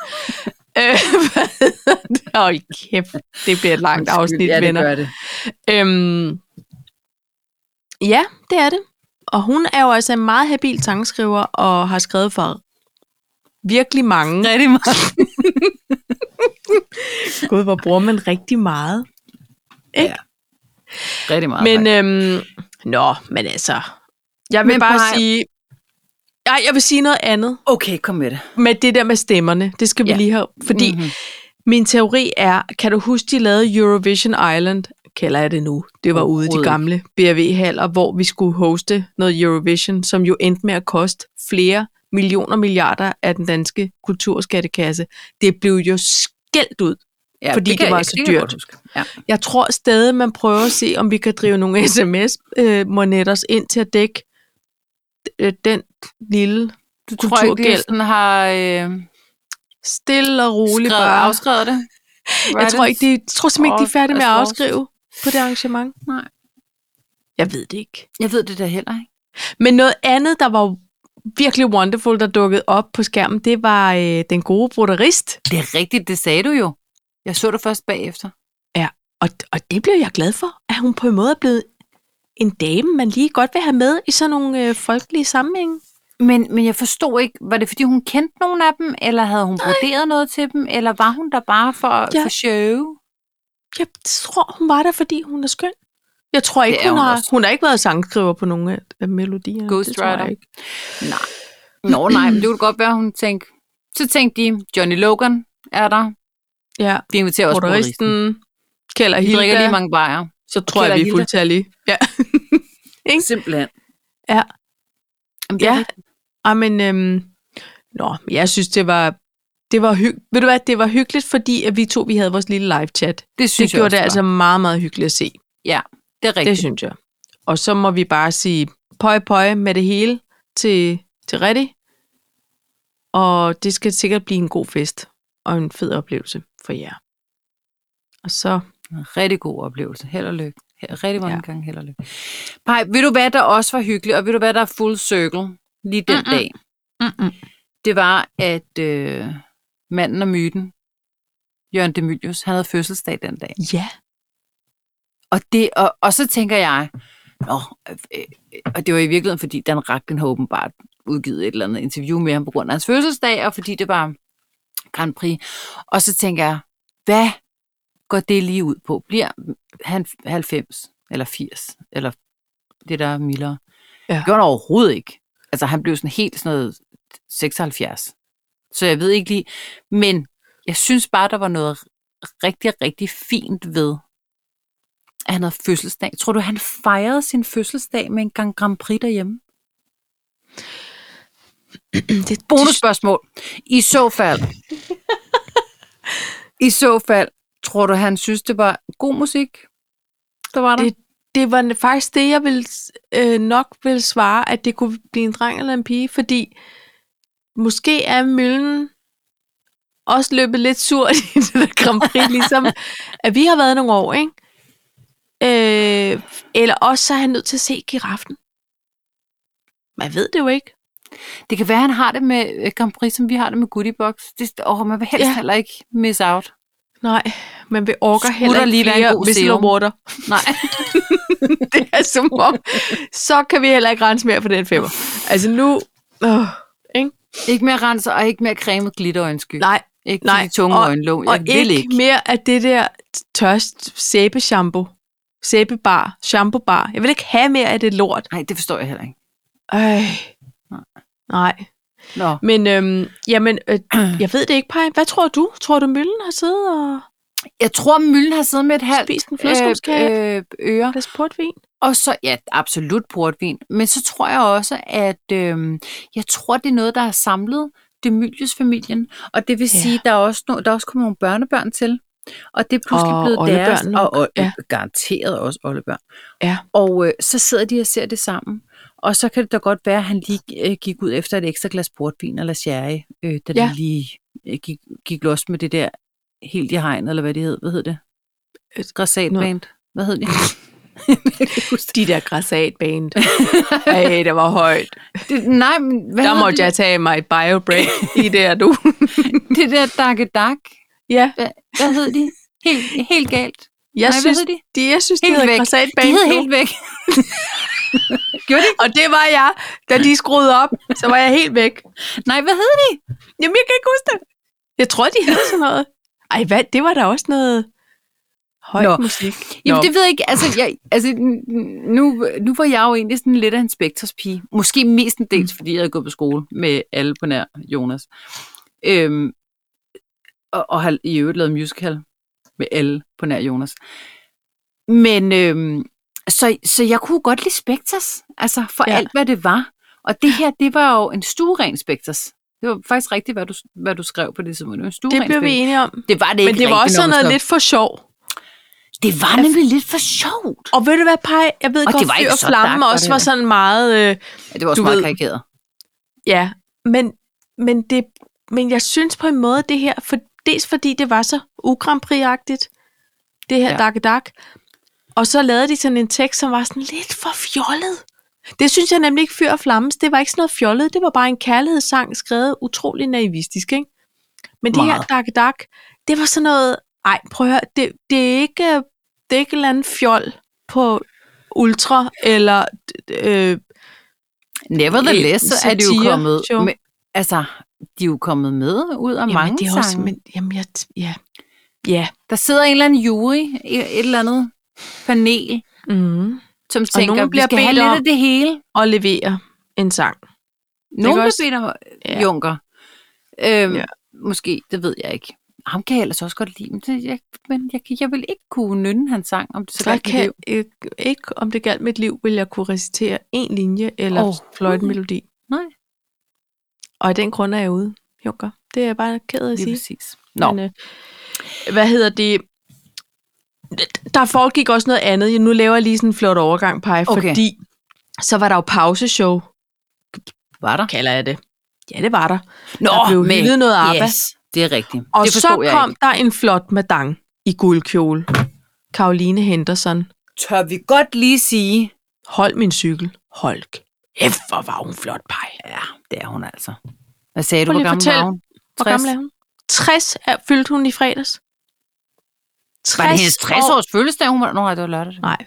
S2: Øh, [laughs] hvad hedder det? Hold kæft, det bliver et langt afsnit,
S1: ja, det
S2: venner.
S1: gør det.
S2: Øhm, ja, det er det. Og hun er jo altså en meget habil sangskriver, og har skrevet for virkelig mange.
S1: Rigtig meget.
S2: Gud, hvor bruger man rigtig meget. Ikke?
S1: Rigtig meget.
S2: Men,
S1: faktisk.
S2: øhm, nå, men altså, jeg vil
S1: Men
S2: bare
S1: Paj-
S2: sige, nej, jeg vil sige noget andet
S1: okay, kom med det.
S2: med det der med stemmerne. Det skal vi
S1: Ja.
S2: lige have, fordi
S1: Mhm.
S2: mm-hmm. min teori er, kan du huske, de lavede Eurovision Island, kalder jeg det nu. Det var ude i de
S1: Overhovedet
S2: gamle BRV-haller, hvor vi skulle hoste noget Eurovision, som jo endte med at koste flere millioner milliarder af den danske kulturskattekasse. Det blev jo skældt ud
S1: Ja,
S2: fordi
S1: kan
S2: det var
S1: jeg-
S2: så
S1: kan jeg
S2: dyrt.
S1: godt huske. Ja.
S2: Jeg tror stadig, man prøver at se, om vi kan drive nogle [laughs] sms-monetters øh, ind til at dække øh, den lille
S1: Du tror ikke,
S2: kulturgæld.
S1: Kirsten har øh,
S2: Stille og roligt
S1: skrevet,
S2: bare.
S1: afskrevet det?
S2: Jeg tror, ikke, de, jeg tror simpelthen ikke, de er
S1: Åh,
S2: færdige med at
S1: altså,
S2: afskrive på det arrangement.
S1: Nej.
S2: Jeg ved det ikke.
S1: Jeg ved det da heller ikke.
S2: Men noget andet, der var virkelig wonderful, der dukkede op på skærmen, det var øh, den gode broderist.
S1: Det er rigtigt, det sagde du jo. Jeg så det først bagefter.
S2: Og, og det blev jeg glad for, at hun på en måde er blevet en dame, man lige godt vil have med i sådan nogle øh, folkelige sammenhænge.
S1: Men, men jeg forstod ikke, var det fordi hun kendte nogen af dem, eller havde hun broderet noget til dem, eller var hun der bare for,
S2: Ja.
S1: ja. for show?
S2: Jeg tror, hun var der, fordi hun er skøn. Jeg tror ikke,
S1: Det
S2: hun,
S1: er hun
S2: har...
S1: også.
S2: Hun har ikke været sangskriver på nogen af, af melodierne. Mm, Det tror jeg
S1: Ghostwriter.
S2: ikke.
S1: Nej.
S2: [clears throat]
S1: Nå nej, men det kunne godt være, hun tænkte. Så tænkte de, Johnny Logan er der.
S2: Ja,
S1: Vi inviterer også Broderisten.
S2: broderisten, Kjeld og
S1: Vi drikker lige
S2: Hilda,
S1: mange bajer.
S2: så tror
S1: Kjeld
S2: jeg,
S1: og
S2: vi er
S1: Hilda.
S2: fuldtallige. Ja.
S1: Simpelthen.
S2: Ja.
S1: Jamen, det er
S2: ja. Ej, men, øhm, nå, jeg synes, det var, det var hyggeligt. Ved du hvad, det var hyggeligt, fordi at vi to vi havde vores lille live-chat.
S1: Det
S2: Det
S1: synes jeg
S2: gjorde
S1: også,
S2: det altså
S1: var.
S2: meget, meget hyggeligt at se.
S1: Det er rigtigt.
S2: Det synes jeg. Og så må vi bare sige pøj pøj med det hele til, til Reddy. Og det skal sikkert blive en god fest og en fed oplevelse for jer. Og så,
S1: En rigtig god oplevelse. Held og lykke. He- Rigtig mange ja. gange held og lykke. Pej, ved du hvad, der også var hyggeligt, og ved du hvad, der er full circle lige den
S2: Mm-mm.
S1: Mm-mm. dag?
S2: Mm-mm.
S1: Det var, at øh, manden og myten, Jørgen Demilius, han havde fødselsdag den dag.
S2: ja,
S1: Og, det, og, og så tænker jeg, Nå, øh, øh, og det var i virkeligheden, fordi Dan Ragden har åbenbart udgivet et eller andet interview med ham på grund af hans fødselsdag, og fordi det var Grand Prix. Og så tænker jeg, hvad går det lige ud på? Bliver han 90 eller 80, eller det der er mildere?
S2: Ja.
S1: Ja. Det gjorde han overhovedet ikke. Altså, han blev sådan helt sådan noget 76. Så jeg ved ikke lige, men jeg synes bare, der var noget rigtig, rigtig fint ved, at han havde fødselsdag. Tror du, han fejrede sin fødselsdag med en gang Grand Prix derhjemme?
S2: det, det,
S1: Bonusspørgsmål. I så fald. I så fald. Tror du, han synes, det var god musik, der var der?
S2: det, det var faktisk det, jeg ville, øh, nok ville svare, at det kunne blive en dreng eller en pige, fordi måske er møllen også løbet lidt surt [laughs] i det der Grand Prix, [laughs] ligesom at vi har været nogle år, ikke? Øh, eller også så er han nødt til at se giraffen. Man ved det jo ikke.
S1: Det kan være, han har det med øh, Grand Prix, som vi har det med Goodie Box. Det, åh, man vil helst
S2: Ja.
S1: ja. heller ikke miss out.
S2: Nej, men vi orker
S1: Skulle
S2: heller
S1: der
S2: ikke
S1: lige være en
S2: flere
S1: god
S2: Whistler
S1: serum?
S2: Water.
S1: Nej.
S2: [laughs] Det er som om, så kan vi heller ikke rense mere for den femmer. Altså nu, øh, ikke?
S1: [laughs] ikke mere renser og ikke mere cremet glitterøjensky.
S2: Nej,
S1: ikke
S2: nej,
S1: de tunge
S2: og-
S1: øjenlåg. Jeg
S2: og
S1: vil
S2: ikke, ikke mere af det der tørst sæbeshampoo. Sæbebar, shampoobar. Jeg vil ikke have mere af det lort.
S1: Nej, det forstår jeg heller ikke.
S2: Øj. Nej.
S1: Nå.
S2: Men øhm, jamen, øh, [clears throat] jeg ved det ikke, Paj. Hvad tror du? Tror du, Møllen har siddet og
S1: Jeg tror, Møllen har siddet med et halvt
S2: spist en flødeskumskage? Øh,
S1: øh, øre.
S2: øh. portvin?
S1: Og så, ja, absolut portvin. Men så tror jeg også, at øh, jeg tror, det er noget, der har samlet Demilius-familien. Og det vil
S2: Ja.
S1: sige, der er også, no, der er også kommet nogle børnebørn til. Og det er pludselig
S2: Og
S1: blevet deres.
S2: oldebørn nok.
S1: Og, og
S2: Ja.
S1: ja. garanteret også oldebørn.
S2: Ja.
S1: Og øh, så sidder de og ser det sammen. Og så kan det da godt være, at han lige øh, gik ud efter et ekstra glas portvin eller sherry, øh, da
S2: Ja.
S1: ja. de lige øh, gik, gik los med det der helt i hegn, eller hvad det hed. Hvad hed det?
S2: Et-
S1: Græsatband. Hvad hed det? Jeg kan ikke huske det.
S2: De der græsatband. Ej, det var højt.
S1: Det, nej, men hvad
S2: Der
S1: hedder
S2: måtte jeg
S1: det,
S2: tage mig et bio-break i der,
S1: [laughs]
S2: du.
S1: det der dakke dak?
S2: ja,
S1: Hvad hed de? Helt, helt galt.
S2: jeg
S1: Nej, hvad
S2: synes,
S1: hed de?
S2: de, jeg synes, de
S1: Helt
S2: hedder
S1: væk. De
S2: græsatband
S1: hed
S2: nu.
S1: helt væk. [laughs] Gjorde de? ikke?
S2: Og det var jeg. Da de skruede op, så var jeg helt væk.
S1: Nej, hvad hed de?
S2: Jamen, jeg kan ikke huske det. Jeg tror, de hed sådan noget. Ej, hvad? Det var da også noget højt
S1: Nå.
S2: musik.
S1: Jamen,
S2: Nå.
S1: det ved jeg ikke. Altså, jeg, altså n- n- nu, nu var jeg jo egentlig sådan lidt af en spektorspige. Måske mest en
S2: Mm.
S1: dels, fordi jeg havde gået på skole med alle på nær Jonas. Øhm, og, og har i øvrigt lavet musical med alle på nær Jonas. Men øhm, så, så jeg kunne godt lide Spectres, altså for
S2: Ja.
S1: ja. alt, hvad det var. Og det her, det var jo en stueren Spectres. Det var faktisk rigtigt, hvad du, hvad du skrev på det tidspunkt. Det, var en
S2: Det
S1: stueren
S2: blev vi
S1: Spectres.
S2: enige om.
S1: Det var det ikke
S2: Men det
S1: rigtig,
S2: var også sådan
S1: når man
S2: noget
S1: skrev-
S2: lidt Altså- for sjov.
S1: Det var nemlig lidt for sjovt.
S2: Og ved du hvad, Paj? Jeg ved
S1: Og
S2: godt,
S1: det var
S2: Fyr
S1: ikke
S2: og
S1: så
S2: Flamme
S1: dark, var
S2: også
S1: det
S2: var
S1: heller.
S2: sådan meget... Øh,
S1: Ja, det var
S2: også
S1: også du
S2: meget
S1: meget ved. karikeret.
S2: ja, men, men, det, men jeg synes på en måde, det her... For, dels fordi det var så uGrand Prix-agtigt, det her ja.
S1: Ja.
S2: dak dak. Og så lavede de sådan en tekst, som var sådan lidt for fjollet. Det synes jeg nemlig ikke Fyr og Flammes. Det var ikke sådan noget fjollet. Det var bare en kærlighedssang, skrevet utrolig naivistisk, ikke? Men det her
S1: Meget.
S2: dak dak, det var sådan noget... Ej, prøv at høre, det, det er ikke... Det er ikke en eller anden fjol på ultra, eller øh,
S1: Nevertheless,
S2: Øh,
S1: så er de jo
S2: satire,
S1: kommet
S2: jo.
S1: med, altså, de er jo kommet med ud af
S2: Jamen,
S1: mange
S2: det er også,
S1: sange.
S2: Men, jamen, jeg, ja. Ja.
S1: Der sidder en eller anden jury, et, et eller andet panel,
S2: Mm.
S1: som og
S2: nogen
S1: tænker, vi
S2: bliver
S1: skal have
S2: bedt
S1: lidt
S2: om-
S1: af det hele.
S2: Og levere en sang.
S1: Nogle
S2: også-
S1: bliver bedt om
S2: Ja.
S1: ja. Junker. Øhm,
S2: Ja.
S1: ja. Måske, det ved jeg ikke. Ham kan jeg ellers også godt lide, men, det, jeg, men jeg, kan- jeg vil ikke kunne nynne hans sang, om det så
S2: Så jeg
S1: galt mit
S2: kan
S1: liv.
S2: ikke, ikke, om det galt mit liv, vil jeg kunne recitere en linje eller oh.
S1: Overhovedet
S2: fløjtemelodi.
S1: Nej.
S2: Og af den grund er jeg ude, Junker. Det er jeg bare ked af at
S1: Lige
S2: sige.
S1: præcis. Nå,
S2: Men, øh, hvad hedder det? Der foregik også noget andet. Nu laver jeg lige sådan en flot overgang, Paj, okay.
S1: Okay.
S2: fordi så var der jo pauseshow, øh,
S1: var der?
S2: kalder jeg det. Ja, det var der.
S1: Nå,
S2: der blev hyldet noget ABBA.
S1: Yes, det er rigtigt.
S2: Og
S1: det
S2: så
S1: forstod jeg
S2: kom
S1: ikke.
S2: der en flot madang i guldkjole. Karoline Henderson.
S1: Tør vi godt lige sige,
S2: Hold min cykel. Hold kæft, hvor var hun flot, pej.
S1: Ja, det er hun altså. Hvad sagde
S2: Prøv
S1: du, hvor
S2: lige at
S1: gammel
S2: fortæl.
S1: var hun? 60.
S2: Hvor gammel er hun? 60 er, fyldte hun i fredags. 60
S1: Var det hendes 60 års fødselsdag, hun var? Nå, nej, det var lørdag.
S2: Nej.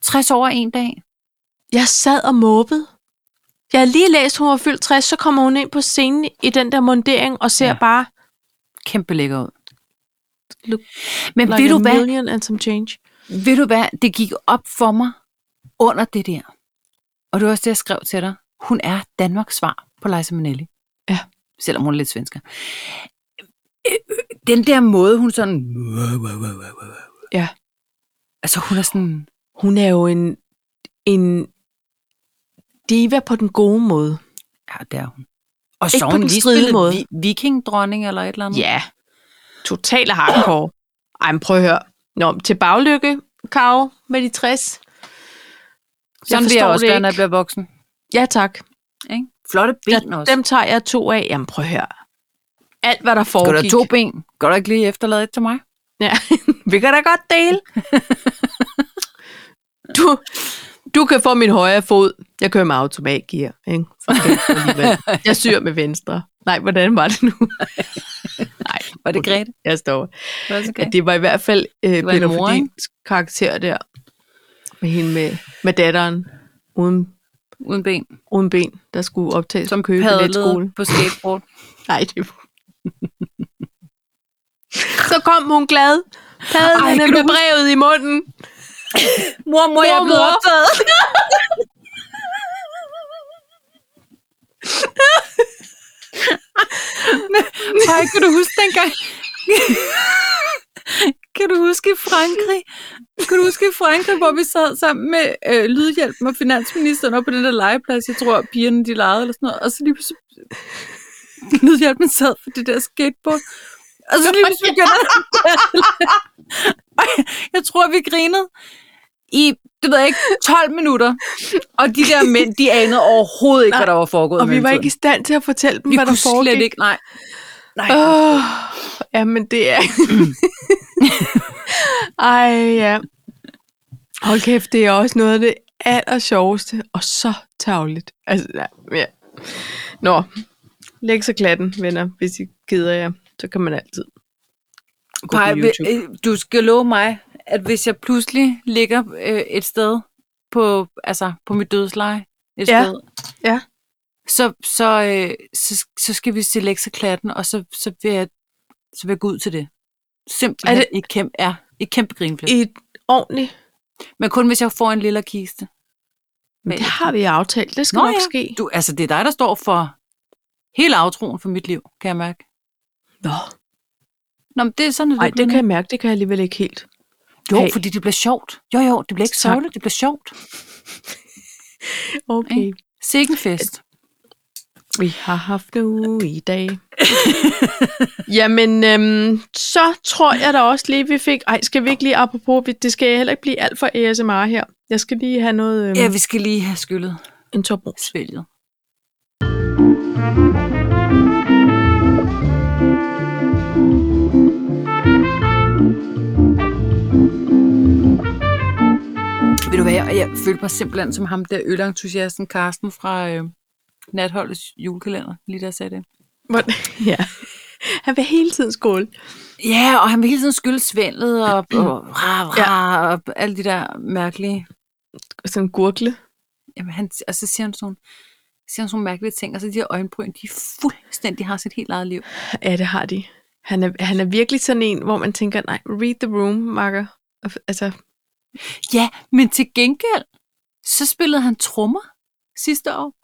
S1: 60 år er en dag.
S2: Jeg sad og måbede. Jeg har lige læst, hun var fyldt 60, så kommer hun ind på scenen i den der mundering og ser ja.
S1: Ja.
S2: bare
S1: Kæmpe lækker ud.
S2: Look
S1: Men
S2: like
S1: ved
S2: a
S1: du, hvad,
S2: million and some change.
S1: ved du hvad, det gik op for mig under det der. Og det var også det, jeg skrev til dig. Hun er Danmarks svar på Liza Minnelli.
S2: Ja.
S1: Selvom hun er lidt svensker. Øh, øh, Den der måde, hun sådan...
S2: Ja.
S1: Altså, hun er sådan...
S2: Hun er jo en, en diva på den gode måde.
S1: Ja, det er hun. Og
S2: Ikke
S1: så
S2: på
S1: har hun
S2: den
S1: lige
S2: stride
S1: spillet
S2: måde.
S1: vi, vikingdronning eller et eller andet.
S2: Ja, total hardcore. Ej, men prøv at høre. Nå, men til baglykke, Karo, med de 60.
S1: Sådan vil jeg
S2: forstår
S1: også
S2: det
S1: være, når jeg
S2: ikke.
S1: bliver voksen.
S2: Ja, tak.
S1: Ikke? Flotte ben
S2: Jeg,
S1: også.
S2: dem tager jeg to af. Jamen, prøv at høre. alt, hvad der
S1: Går der
S2: foregik.
S1: to ben? Går der ikke lige efterlade et til mig?
S2: [laughs] Ja, vi kan da godt dele.
S1: [laughs]
S2: Du, du kan få min højre fod. Jeg kører med automatgear. Ikke? Okay, alligevel. jeg syr med venstre. Nej, hvordan var det nu? Nej,
S1: Var det Grete?
S2: jeg står.
S1: Var det så
S2: Okay.
S1: Grete?
S2: Det var i hvert fald øh,
S1: var en
S2: Peter
S1: mor, ikke?
S2: Fordins karakter der. Med hende med, med datteren uden,
S1: Uden ben.
S2: uden ben, der skulle optages
S1: Som
S2: på købebilletskole.
S1: padlede på skateboard.
S2: Nej, det Så kom hun glad.
S1: Ej,
S2: Padlende
S1: kan du
S2: med brevet i munden.
S1: Mor, mor, jeg er blevet [laughs]
S2: Mormor.
S1: optaget. Nej, kan du huske dengang? kan du huske i Frankrig? Kan du huske i Frankrig, hvor vi sad sammen med øh, Lydhjælpen og finansministeren op på den der legeplads, jeg tror, pigerne de legede eller sådan noget, og så lige pludselig Lydhjælpen sad for det der skateboard, og så Altså, lige pludselig begynder [laughs] jeg tror, vi grinede i, det ved jeg ikke, 12 minutter. Og de der mænd, de anede overhovedet ikke,
S2: Nej,
S1: hvad der var foregået.
S2: Og vi
S1: mellem
S2: var
S1: tiden.
S2: ikke i stand til at fortælle dem,
S1: vi
S2: hvad der
S1: kunne
S2: foregik.
S1: slet ikke, nej. Nej,
S2: Oh, jamen, det er... Ej, ja. Hold kæft, det er også noget af det aller sjoveste, og så tavligt. Altså, ja, ja. Nå, læg så klatten, venner, hvis I keder jer. Så kan man altid gå på
S1: Paj,
S2: YouTube.
S1: vi- øh, du skal love mig, at hvis jeg pludselig ligger øh, et sted på, altså, på mit dødsleje, et
S2: Ja,
S1: sted,
S2: ja.
S1: Så, så, øh, så, så skal vi se lekserklatten, og så, så, vil jeg, så vil jeg gå ud til det. Simpelthen
S2: Er
S1: er
S2: det-
S1: det? et kæmpe, ja, et kæmpe grinflæt.
S2: Et ordentligt...
S1: Men kun hvis jeg får en lille kiste.
S2: Men det har vi aftalt. Det skal
S1: Nå
S2: nok
S1: ja,
S2: ske.
S1: Du, altså, det er dig, der står for hele aftroen for mit liv, kan jeg mærke.
S2: Nå,
S1: Nå, men det er sådan, at
S2: Ej, det kan jeg mærke. Det kan jeg alligevel ikke helt.
S1: Jo,
S2: have.
S1: fordi det bliver sjovt. Jo, jo, det bliver ikke
S2: Tak.
S1: sørgeligt, det bliver sjovt.
S2: Okay.
S1: Sikke en fest.
S2: Vi har haft det uge i dag. [laughs] Jamen, øhm, så tror jeg da også lige, vi fik... Ej, skal vi ikke lige apropos... vi- Det skal heller ikke blive alt for ASMR her. Jeg skal lige have noget... Øhm,
S1: Ja, vi skal lige have skyllet
S2: En toprus.
S1: svælget. Ved du hvad, jeg, jeg følte mig simpelthen som ham der ølentusiasten Karsten fra øh, Natholdets julekalender, lige da jeg sagde det.
S2: Hvor- [laughs] Ja. Han vil hele tiden skåle.
S1: Ja, og han vil hele tiden skylde svindlet og, og, ra, ra, og alle de der mærkelige...
S2: Sådan gurgle.
S1: Jamen, han, og så siger han sådan, siger han sådan nogle mærkelige ting, og så de her øjenbryn, de fuldstændig har sit helt eget liv.
S2: Ja, det har de. Han er, han er virkelig sådan en, hvor man tænker, nej, read the room, Marker. Altså,
S1: Ja, men til gengæld, så spillede han trommer sidste år.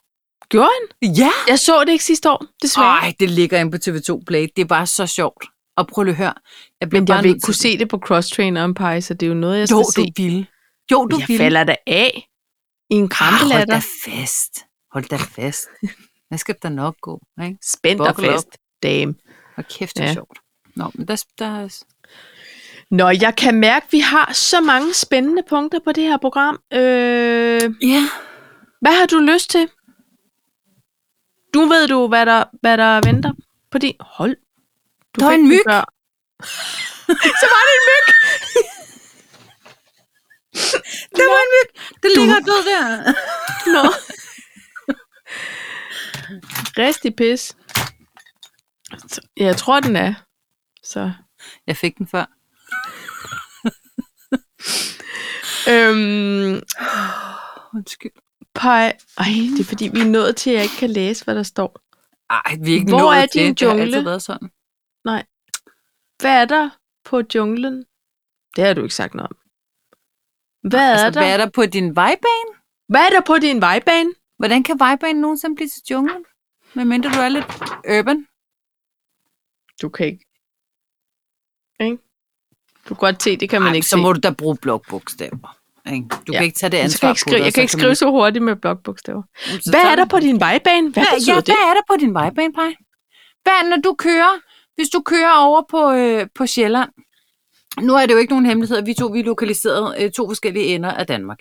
S2: gjorde han?
S1: Ja!
S2: Jeg så det ikke sidste år, desværre.
S1: Ej, det ligger inde på TV2 Play. Det var så sjovt. Og prøv lige at høre. Jeg blev
S2: Men
S1: bare
S2: jeg vil
S1: nødt
S2: ikke
S1: til-
S2: kunne se det på crosstrainer om Pie, så det er jo noget, jeg skal
S1: Jo,
S2: se.
S1: du ville. Jo, du
S2: jeg
S1: ville.
S2: falder da af i en
S1: Ah, hold
S2: krampelatter.
S1: da fast. Hold da fast. Jeg skal da nok gå, ikke?
S2: Spændt og
S1: Buckle
S2: fast. Damn.
S1: Og kæft, det er
S2: Ja.
S1: ja. sjovt. Nå, men der, der
S2: Nå, jeg kan mærke, at vi har så mange spændende punkter på det her program. Øh,
S1: Ja.
S2: hvad har du lyst til? Du ved du, hvad der, hvad der venter på din... Hold. Du
S1: Der var
S2: fik
S1: en
S2: den
S1: myg.
S2: [laughs] før. [laughs]
S1: Der var en myg. Det
S2: Du-
S1: ligger død der.
S2: Nå. Rest i pis. Jeg tror, den er. Så.
S1: Jeg fik den før.
S2: Øhm,
S1: Undskyld.
S2: pej. Ej, det er fordi, vi er nået til, at jeg ikke kan læse, hvad der står.
S1: Ej, vi er ikke
S2: Hvor
S1: nået
S2: er
S1: til.
S2: din
S1: Det har
S2: jungle?
S1: altid været sådan.
S2: Hvad er der på junglen? Det har du ikke sagt noget om. Hvad, altså, er, der?
S1: hvad
S2: hvad,
S1: er
S2: er,
S1: der på din vejbane?
S2: hvad er der på din vejbane?
S1: Hvordan kan vejbanen nogensinde blive til junglen? Medmindre du er lidt urban.
S2: Du kan ikke. Ikke? Du kan godt se, det kan man ikke
S1: så
S2: se.
S1: må du da bruge blokbogstaver. ikke? Du
S2: Ja.
S1: kan ikke tage det
S2: Men så
S1: ansvar
S2: kan jeg, ikke skrive, jeg kan ikke skrive så hurtigt med blokbogstaver. Hvad er der på din vejbane? Hvad
S1: Hvad, ja,
S2: betyder det?
S1: hvad er der på din vejbane, Paj? Hvad er det, når du kører? Hvis du kører over på, øh, på Sjælland. Nu er det jo ikke nogen hemmelighed, at vi to vi er lokaliseret øh, to forskellige ender af Danmark.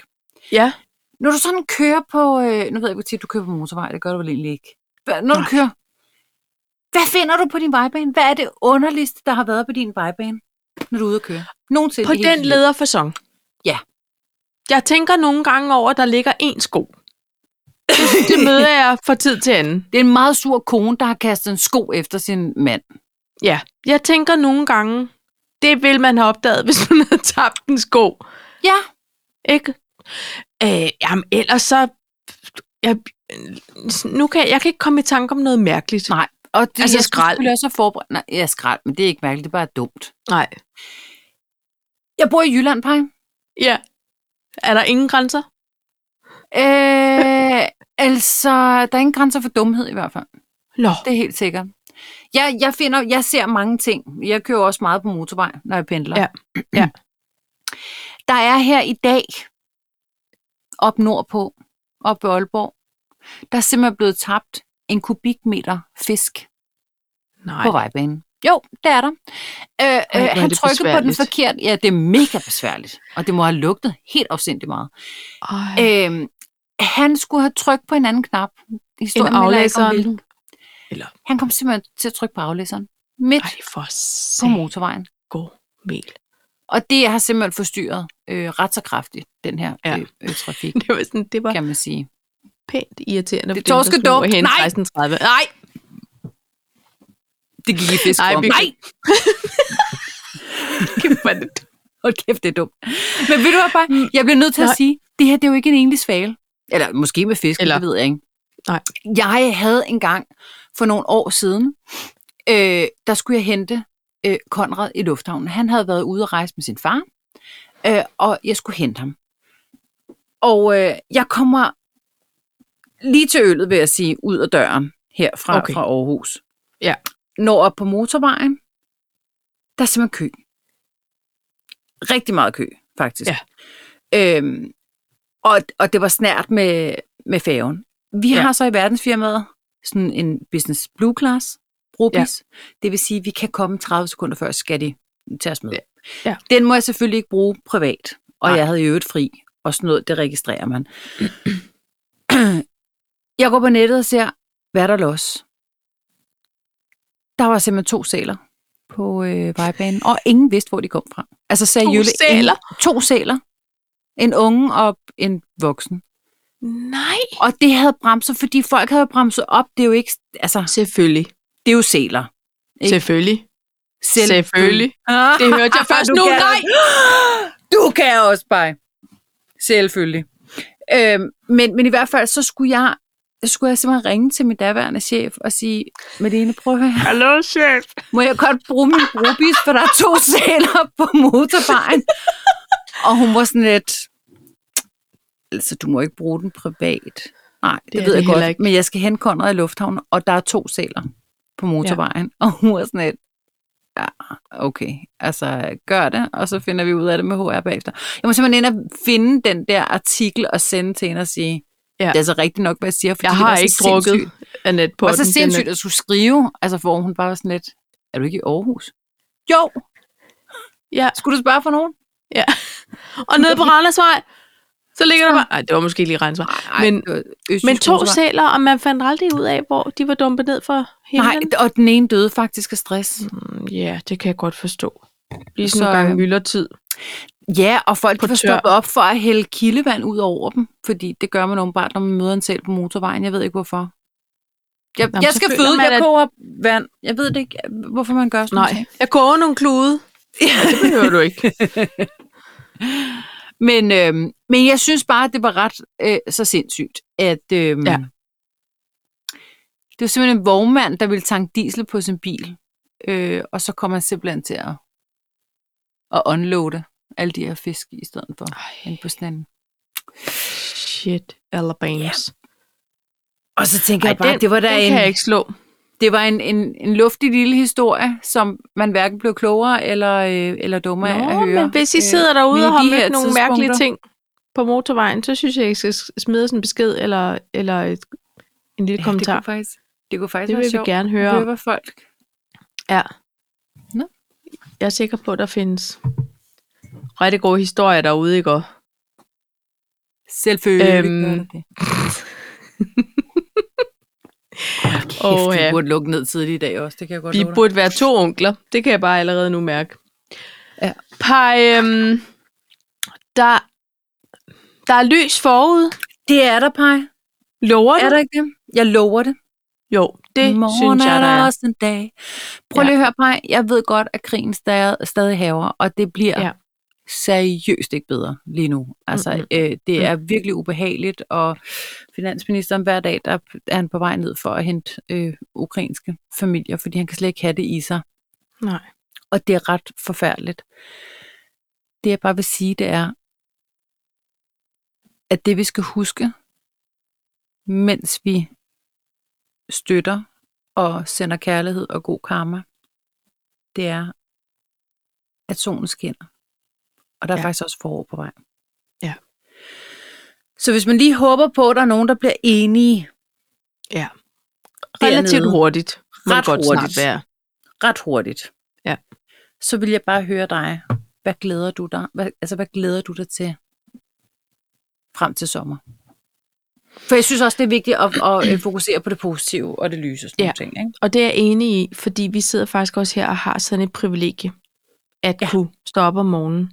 S2: Ja,
S1: Når du sådan kører på... Øh, nu ved jeg ikke, hvor tit du kører på motorvej. Det gør du vel egentlig ikke. Hva- Når du
S2: Nej.
S1: kører... Hvad finder du på din vejbane? Hvad er det underligste, der har været på din vejbane, når du er ude at køre? Nogensinde.
S2: På
S1: i hele
S2: den
S1: dit liv?
S2: lederfasong.
S1: Ja.
S2: Jeg tænker nogle gange over, at der ligger én sko. Det, det møder jeg fra tid til anden.
S1: Det er en meget sur kone, der har kastet en sko efter sin mand.
S2: Ja, jeg tænker nogle gange, det vil man have opdaget, [laughs] hvis man havde tabt en sko.
S1: Ja.
S2: Ikke? Øh, jamen, ellers så... Jeg, nu kan, jeg kan ikke komme i tanke om noget mærkeligt.
S1: Nej. Og det,
S2: Altså,
S1: jeg
S2: skrald.
S1: Jeg også have forberedt. Nej, ja, skrald, men det er ikke mærkeligt, det er bare dumt.
S2: Nej.
S1: Jeg bor i Jylland, [laughs] Paj.
S2: Ja. Er der ingen grænser?
S1: Øh, altså, der er ingen grænser for dumhed i hvert fald.
S2: Nå.
S1: Det er helt sikkert. Jeg, jeg, finder, jeg ser mange ting. Jeg kører også meget på motorvej, når jeg pendler.
S2: Ja. Ja.
S1: [clears throat] Der er her i dag, op nordpå, op ved Aalborg, der er simpelthen blevet tabt en kubikmeter fisk
S2: Nej.
S1: på vejbanen. Jo, det er der. Øh,
S2: hvor
S1: øh,
S2: er
S1: han
S2: det
S1: trykkede på den
S2: besværligt.
S1: forkert. Ja, det er mega besværligt. Og det må have lugtet helt afsindigt meget.
S2: Ej.
S1: Øh, han skulle have trykket på en anden knap. Historien
S2: End
S1: melder ikke om
S2: aflæseren?
S1: hvilken.
S2: Eller-
S1: Han kom simpelthen til at trykke på aflæseren. Midt
S2: Ej, for
S1: på
S2: satan.
S1: motorvejen.
S2: God mel. [laughs]
S1: Og det har simpelthen forstyrret øh, ret så kraftigt, den her
S2: Ja.
S1: ja. øh, øh, trafik,
S2: Det var, sådan, det var
S1: kan man sige.
S2: pænt irriterende.
S1: Det er
S2: for dem, der
S1: torskedumt.
S2: skulle hen
S1: Nej.
S2: 16.30. Nej,
S1: [laughs] Det gik i fisk
S2: Nej,
S1: om.
S2: vi-
S1: Nej,
S2: [laughs] kæft, hvor er det
S1: hold kæft, det er dumt. Men ved du hvad, bare, jeg bliver nødt til Mm. Nej.
S2: Nej.
S1: at sige, det her det er jo ikke en enlig svale. Eller måske med fisk,
S2: Eller-
S1: Eller... det ved jeg ikke.
S2: Nej.
S1: Jeg havde engang for nogle år siden, øh, der skulle jeg hente øh, Konrad i lufthavnen. Han havde været ude at rejse med sin far, øh, og jeg skulle hente ham. Og øh, jeg kommer lige til øllet, vil jeg sige, ud af døren her fra,
S2: Okay.
S1: okay. fra Aarhus.
S2: Ja.
S1: Når op på motorvejen, der er simpelthen kø. Rigtig meget kø, faktisk.
S2: Ja.
S1: Øhm, og, og det var snært med, med færgen. Vi
S2: Ja.
S1: ja. har så i verdensfirmaet sådan en business blue class, brobis. Ja. Det vil sige, at vi kan komme 30 sekunder før, skal de tage os med.
S2: Ja. Ja.
S1: Den må jeg selvfølgelig ikke bruge privat, og
S2: Nej.
S1: Nej. jeg havde i øvrigt fri, og sådan noget, det registrerer man. jeg går på nettet og ser, hvad er der los. Der var simpelthen to sæler på øh, vejbanen, og ingen vidste, hvor de kom fra. Altså sagde
S2: To
S1: Jylle, ingen-
S2: sæler?
S1: To sæler. En unge og en voksen.
S2: Nej.
S1: Og det havde bremset, fordi folk havde bremset op. Det er jo ikke, altså,
S2: Selvfølgelig.
S1: det er jo sæler. Ikke?
S2: Selvfølgelig. Selvfølgelig. Det hørte jeg først
S1: Ah, Du
S2: nu.
S1: kan-
S2: Nej.
S1: Du kan også bare. Selvfølgelig. Øhm, men, men i hvert fald, så skulle jeg, så skulle jeg simpelthen ringe til min daværende chef og sige, Malene, prøv at høre her.
S2: Hallo, chef.
S1: Må jeg godt bruge min brobis, for der er to sæler på motorvejen? og hun var sådan lidt, altså du må ikke bruge den privat. Nej, det,
S2: er
S1: det ved
S2: det
S1: jeg godt,
S2: heller ikke.
S1: ikke. men jeg skal hente Conrad i lufthavnen, og der er to sæler på motorvejen. Ja. Og hun var sådan lidt, ja, okay, altså gør det, og så finder vi ud af det med HR bagefter. Jeg må simpelthen ind og finde den der artikel og sende til hende og sige,
S2: Ja.
S1: ja. det er altså rigtigt nok, hvad jeg siger, fordi
S2: Jeg
S1: det
S2: har
S1: var så
S2: ikke drukket
S1: sindssygt-
S2: Annette på
S1: og så sindssygt at skulle skrive, altså for hun bare var sådan lidt, er du ikke i Aarhus? Jo,
S2: Ja.
S1: skulle du spørge for nogen?
S2: ja. Og nede på Randersvej, så ligger der bare... Ej, det var måske ikke lige Randersvej.
S1: Ej,
S2: Men,
S1: det var Østjysk
S2: men to
S1: Motorvej.
S2: sæler, og man fandt aldrig ud af, hvor de var dumpet ned for
S1: Nej,
S2: himlen.
S1: og den ene døde faktisk af stress.
S2: Mm, Ja, det kan jeg godt forstå. Lige sådan
S1: Så,
S2: en gang
S1: øh,
S2: myldretid.
S1: Ja, og folk
S2: På
S1: får
S2: tør.
S1: stoppet op for at hælde kildevand ud over dem, fordi det gør man åbenbart, når man møder en sæl på motorvejen. Jeg ved ikke, hvorfor. Jeg,
S2: Nå, men
S1: jeg
S2: så
S1: skal
S2: føler
S1: føde,
S2: man,
S1: jeg
S2: at-
S1: koger vand. Jeg ved det ikke, hvorfor man gør sådan
S2: Nej,
S1: nogle ting.
S2: jeg koger nogle klude. Ja, det behøver du [laughs] ikke.
S1: Men, øhm, men jeg synes bare, at det var ret øh, så sindssygt, at øhm,
S2: Ja.
S1: ja. det var simpelthen en vognmand, der ville tanke diesel på sin bil, øh, og så kom han simpelthen til at, at unloade alle de her fisk i stedet for ind på sådan en.
S2: Shit, Alabams.
S1: Og så tænker
S2: Ej,
S1: jeg bare,
S2: den-
S1: det var
S2: Ja,
S1: da
S2: den kan jeg
S1: en,
S2: ikke slå.
S1: det var en, en, en luftig lille historie, som man hverken blev klogere eller, øh, eller dummere af at
S2: Nå,
S1: høre.
S2: men hvis I
S1: øh,
S2: sidder derude
S1: lige
S2: og har
S1: de her
S2: mødt nogle mærkelige
S1: tidspunkter.
S2: ting på motorvejen, så synes jeg, I skal smide sådan en besked eller, eller et, en lille ja,
S1: ja, det
S2: kommentar.
S1: kunne faktisk, det kunne faktisk være
S2: Det, det vil vi
S1: sjovt.
S2: gerne høre
S1: Det
S2: om.
S1: var folk.
S2: Ja.
S1: Nå.
S2: Jeg er sikker på, at der findes rigtig gode historier derude, ikke? Og
S1: Selvfølgelig
S2: Øhm,
S1: øhm. gør det det. Hold Og
S2: Og,
S1: Kæft, vi
S2: ja,
S1: burde lukke ned tidligt i dag også, det kan jeg godt
S2: vi
S1: love dig.
S2: burde være to onkler. Det kan jeg bare allerede nu mærke.
S1: Ja.
S2: Pej, øhm, der, der er lys forud.
S1: Det er der, Paj.
S2: Lover du?
S1: Er der ikke det? Jeg lover det.
S2: Jo, det
S1: Morgen
S2: synes jeg,
S1: er
S2: der
S1: der
S2: er.
S1: også en dag. Prøv lige at høre, Paj. Jeg ved godt, at krigen stadig, stadig haver, og det bliver
S2: Ja.
S1: ja. seriøst ikke bedre lige nu. Altså,
S2: Mm, mm,
S1: mm-hmm. øh, det er virkelig ubehageligt, og finansministeren hver dag, der er han på vej ned for at hente øh, ukrainske familier, fordi han kan slet ikke have det i sig.
S2: Nej.
S1: og det er ret forfærdeligt. Det jeg bare vil sige, det er, at det vi skal huske, mens vi støtter og sender kærlighed og god karma, det er, at solen skinner. Og der er
S2: Ja.
S1: ja. faktisk også forår på vej.
S2: Ja.
S1: Så hvis man lige håber på, at der er nogen, der bliver enige
S2: Ja. Relativt
S1: Dernede.
S2: hurtigt. Må
S1: Ret
S2: det godt
S1: hurtigt.
S2: snart være.
S1: ret hurtigt,
S2: Ja.
S1: så vil jeg bare høre dig, hvad glæder du dig, hvad, altså hvad glæder du dig til frem til sommer? For jeg synes også, det er vigtigt at, at øh, fokusere på det positive og det lyse og sådan
S2: Ja.
S1: ja. ting. Ikke?
S2: Og det er jeg enig i, fordi vi sidder faktisk også her og har sådan et privilegie, at ja.
S1: Ja.
S2: kunne stå op om morgenen.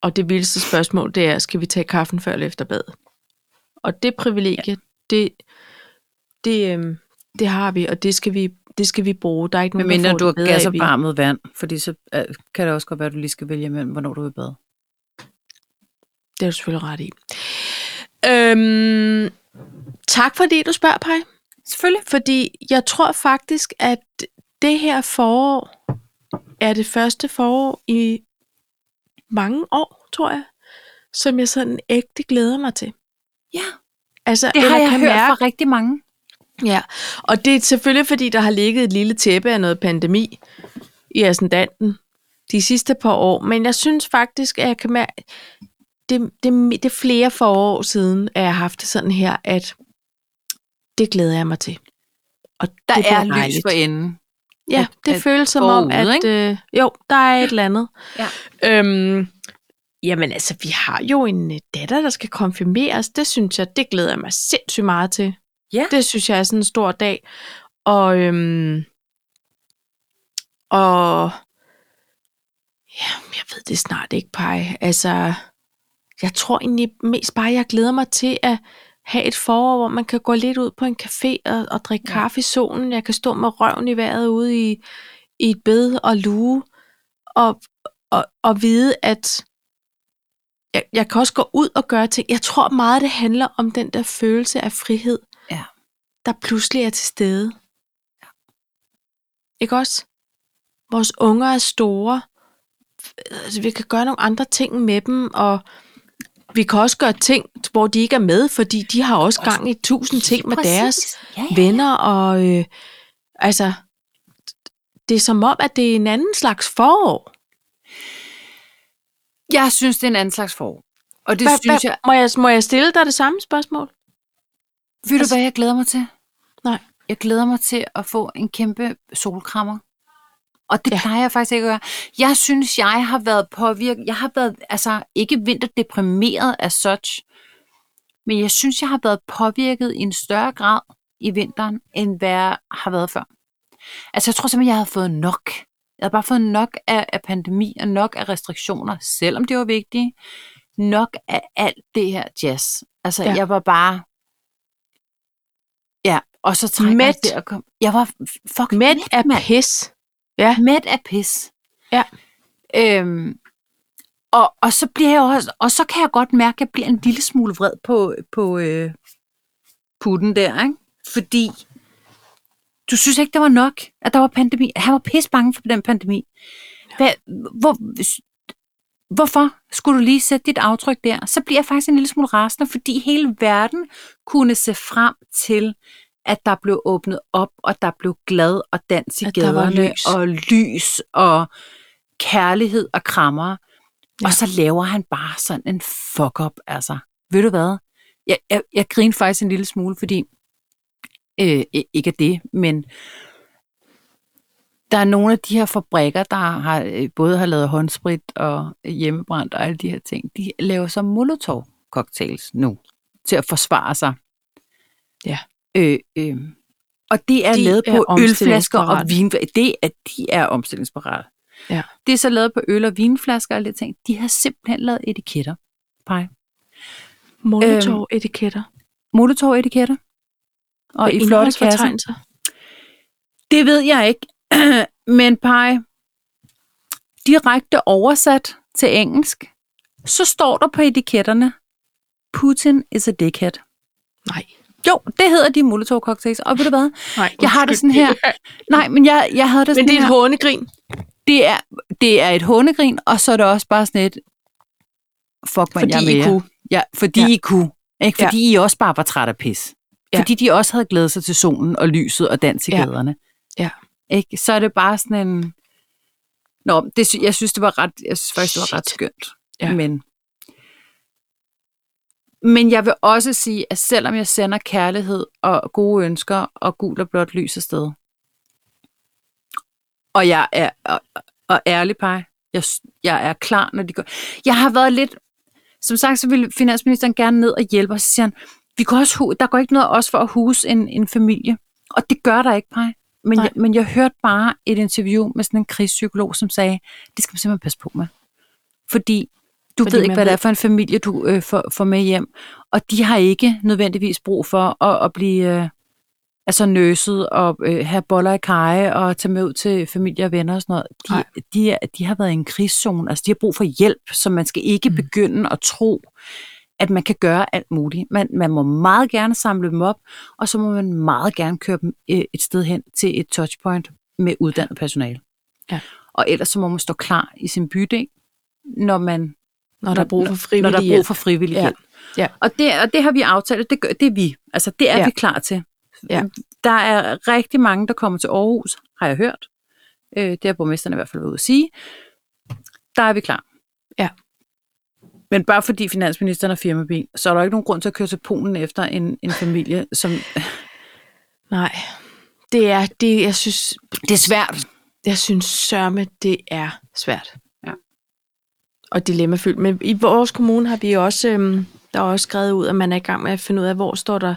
S2: Og det vildeste spørgsmål, det er, skal vi tage kaffen før eller efter badet? Og det privilegie, ja. det, det, øhm, det har vi, og det skal vi, det skal vi bruge. Der er ikke nogen,
S1: Men
S2: der
S1: mindre
S2: får
S1: du
S2: det
S1: har
S2: bedre, af,
S1: gas og
S2: vi-
S1: varmet vand, fordi så øh, kan det også godt være, at du lige skal vælge imellem, hvornår du vil bade.
S2: Det er du selvfølgelig ret i. Øhm, tak fordi du spørger, Paj.
S1: Selvfølgelig.
S2: Fordi jeg tror faktisk, at det her forår er det første forår i mange år, tror jeg, som jeg sådan ægte glæder mig til.
S1: Ja,
S2: Altså,
S1: det har
S2: eller
S1: jeg
S2: kan
S1: hørt mærke.
S2: mærke-
S1: fra rigtig mange.
S2: Ja, og det er selvfølgelig, fordi der har ligget et lille tæppe af noget pandemi i ascendanten de sidste par år. Men jeg synes faktisk, at jeg kan mærke, det, det, det er flere forår siden, at jeg har haft det sådan her, at det glæder jeg mig til. Og
S1: Der
S2: det
S1: det er
S2: bliver
S1: lys
S2: dejligt.
S1: for enden.
S2: Ja,
S1: at-
S2: det
S1: at
S2: føles som om,
S1: forude,
S2: at øh, jo, der er et eller andet.
S1: [laughs] Ja.
S2: Øhm, jamen altså, vi har jo en øh, datter, der skal konfirmeres. Det synes jeg, det glæder jeg mig sindssygt meget til.
S1: Ja.
S2: Det synes jeg er sådan en stor dag. Og, øhm, og ja, jeg ved det snart ikke, Paj. Altså, jeg tror egentlig mest bare, jeg glæder mig til at have et forår, hvor man kan gå lidt ud på en café og, og drikke ja.
S1: Ja.
S2: kaffe i solen. Jeg kan stå med røven i vejret ude i, i et bed og luge, og, og, og vide, at jeg, jeg kan også gå ud og gøre ting. Jeg tror meget, det handler om den der følelse af frihed,
S1: Ja.
S2: der pludselig er til stede. Ikke også? Vores unger er store. Altså, vi kan gøre nogle andre ting med dem, og vi kan også gøre ting, hvor de ikke er med, fordi de har også gang i tusind ting med deres
S1: ja, ja.
S2: venner, og øh, altså, det er som om, at det er en anden slags forår.
S1: Jeg synes, det er en anden slags forår. Og det
S2: Hva-
S1: synes
S2: hva-
S1: jeg...
S2: Må jeg, må jeg stille dig det samme spørgsmål?
S1: Ved du,
S2: Altså-
S1: hvad jeg glæder mig til?
S2: Nej.
S1: Jeg glæder mig til at få en kæmpe solkrammer. Og det
S2: Ja.
S1: ja. plejer jeg faktisk ikke at gøre. Jeg synes, jeg har været påvirket. Jeg har været, altså ikke vinterdeprimeret af such, men jeg synes, jeg har været påvirket i en større grad i vinteren, end hvad jeg har været før. Altså jeg tror simpelthen, jeg havde fået nok. Jeg havde bare fået nok af, af pandemi og nok af restriktioner, selvom det var vigtigt. Nok af alt det her jazz. Altså
S2: Ja.
S1: ja. jeg var bare... Ja, og så trækker
S2: Mæt.
S1: jeg til at komme... Jeg var fucking
S2: Mæt af
S1: mand.
S2: pis.
S1: Mæt af pis.
S2: Ja.
S1: Øhm, og, og så bliver jeg også, og så kan jeg godt mærke, at jeg bliver en lille smule vred på, på øh, putten der, ikke? Fordi du synes ikke, det var nok, at der var pandemi. Han var pis bange for den pandemi. Hvad, hvor, hvorfor skulle du lige sætte dit aftryk der? Så bliver jeg faktisk en lille smule rasende, fordi hele verden kunne se frem til, at der blev åbnet op, og der blev glad og dans i
S2: At der var
S1: gaderne,
S2: lys.
S1: og lys, og kærlighed og krammer. Ja.
S2: Ja.
S1: Og så laver han bare sådan en fuck-up, altså. Ved du hvad? Jeg, jeg, jeg griner faktisk en lille smule, fordi øh, i- ikke af det, men der er nogle af de her fabrikker, der har, øh, både har lavet håndsprit og hjemmebrændt og alle de her ting, de laver så molotov-cocktails nu til at forsvare sig.
S2: Ja.
S1: Øh, øh. og det er
S2: De
S1: de lavet
S2: er
S1: på er ølflasker og
S2: omstillingsparate.
S1: vinflasker. Det er, de er omstillingsparate.
S2: Ja.
S1: Det er så lavet på øl og vinflasker og alle de ting. De har simpelthen lavet etiketter. Pej.
S2: Øhm, Molotov-etiketter.
S1: Molotov-etiketter. Og i flotte kasser. Det ved jeg ikke. [clears throat] Men pej, direkte oversat til engelsk, så står der på etiketterne, Putin is a dickhead.
S2: Nej.
S1: Jo, det hedder de Molotov cocktails. Og ved du hvad?
S2: Nej,
S1: Jeg har det
S2: undskyld.
S1: sådan
S2: [laughs]
S1: her. Nej, men jeg, jeg havde det
S2: Men
S1: sådan
S2: det er
S1: her.
S2: et hånegrin.
S1: det er, det er et hundegrin, og så er det også bare sådan et, fuck man,
S2: Fordi
S1: jeg er
S2: I
S1: med jer.
S2: kunne.
S1: Ja, fordi
S2: Ja.
S1: ja. I kunne. Ikke?
S2: Ja.
S1: Fordi ja. I også bare var træt af pis.
S2: Ja.
S1: Ja. Fordi de også havde glædet sig til solen og lyset og dans i
S2: Ja.
S1: gaderne.
S2: Ja.
S1: Ikke? Så er det bare sådan en... Nå, det, sy- jeg synes, det var ret, jeg synes faktisk, det var ret
S2: Shit.
S1: skønt.
S2: Ja.
S1: Men, men jeg vil også sige, at selvom jeg sender kærlighed og gode ønsker og gul og blåt lys afsted, og jeg er og, og ærlig pej, jeg, s- jeg er klar, når de går. Jeg har været lidt... Som sagt, så ville finansministeren gerne ned og hjælpe os. Så siger han, vi kan også, hu- der går ikke noget af os for at huse en, en familie. Og det gør der ikke, pej. Men
S2: Nej.
S1: jeg, men jeg hørte bare et interview med sådan en krigspsykolog, som sagde, det skal man simpelthen passe på med. Fordi du
S2: Fordi
S1: Fordi ved ikke,
S2: man
S1: hvad det
S2: ved-
S1: er for en familie, du øh, får, får med hjem. Og de har ikke nødvendigvis brug for at, at blive øh, altså nøset og øh, have boller i kaje og tage med ud til familie og venner og sådan noget.
S2: Nej.
S1: De, de, er, de har været i en krigszone, altså de har brug for hjælp, så man skal ikke mm.
S2: Mm.
S1: begynde at tro, at man kan gøre alt muligt. Man, man må meget gerne samle dem op, og så må man meget gerne køre dem øh, et sted hen til et touchpoint med uddannet personale.
S2: Ja.
S1: Og ellers så må man stå klar i sin bydel, når man
S2: Når der er brug for frivillig
S1: når der er brug for frivillig
S2: Ja.
S1: ja. hjælp.
S2: Ja.
S1: Og, det, og det har vi aftalt, at det, gør, det er vi. Altså, det er
S2: Ja.
S1: ja. vi klar til.
S2: Ja.
S1: Der er rigtig mange, der kommer til Aarhus, har jeg hørt. Øh, det har borgmesterne i hvert fald været ude at sige. Der er vi klar.
S2: Ja.
S1: Men bare fordi finansministeren har firmabil, så er der ikke nogen grund til at køre til Polen efter en, en familie, som...
S2: Nej. Det er, det, jeg synes,
S1: Det er svært.
S2: jeg synes sørme, det er svært.
S1: Ja.
S2: Og dilemmafyldt. Men i vores kommune har vi også, øhm, der er også skrevet ud, at man er i gang med at finde ud af, hvor står der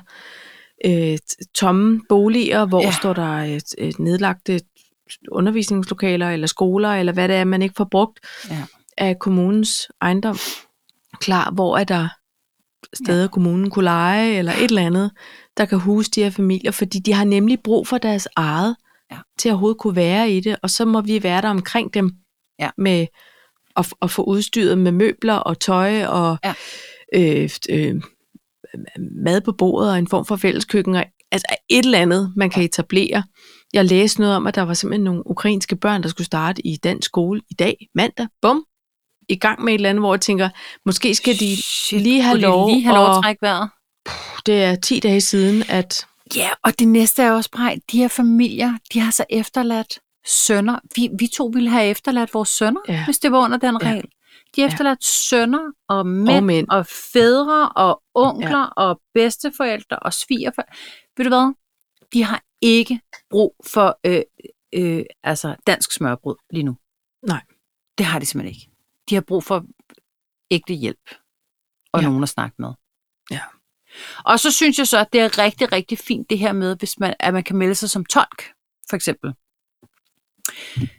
S2: øh, t- tomme boliger, hvor ja.
S1: Ja.
S2: står der øh, t- øh, nedlagte undervisningslokaler eller skoler, eller hvad det er, man ikke får brugt
S1: Ja.
S2: af kommunens ejendom. Klar, hvor er der steder, ja. kommunen kunne lege, eller et eller andet, der kan huse de her familier, fordi de har nemlig brug for deres eget til at overhovedet kunne være i det, og så må vi være der omkring dem
S1: Ja.
S2: med at, at få udstyret med møbler og tøj og
S1: Ja.
S2: øh, øh, mad på bordet og en form for fælleskøkken, og, altså et eller andet, man kan etablere. Jeg læste noget om, at der var simpelthen nogle ukrainske børn, der skulle starte i dansk skole i dag, mandag, bum, i gang med et eller andet, hvor jeg tænker, måske skal de,
S1: Shit,
S2: lige have
S1: kunne de
S2: lov
S1: lige have lov at
S2: at-
S1: trække vejret?
S2: det er 10 dage siden, at
S1: Ja, og det næste er også bare, de her familier, de har så efterladt sønner. Vi, vi to ville have efterladt vores sønner,
S2: Ja.
S1: ja. hvis det var under den
S2: Ja.
S1: regel. De har
S2: Ja.
S1: efterladt sønner og mænd, og
S2: mænd.
S1: mænd og fædre og onkler ja. og bedsteforældre og svigerforældre. Ved du hvad? De har ikke brug for øh, øh, altså dansk smørbrød lige nu.
S2: Nej.
S1: Det har de simpelthen ikke. De har brug for ægte hjælp og
S2: Ja.
S1: ja. nogen at snakke med.
S2: Ja.
S1: Og så synes jeg så, at det er rigtig, rigtig fint det her med, hvis man, at man kan melde sig som tolk, for eksempel.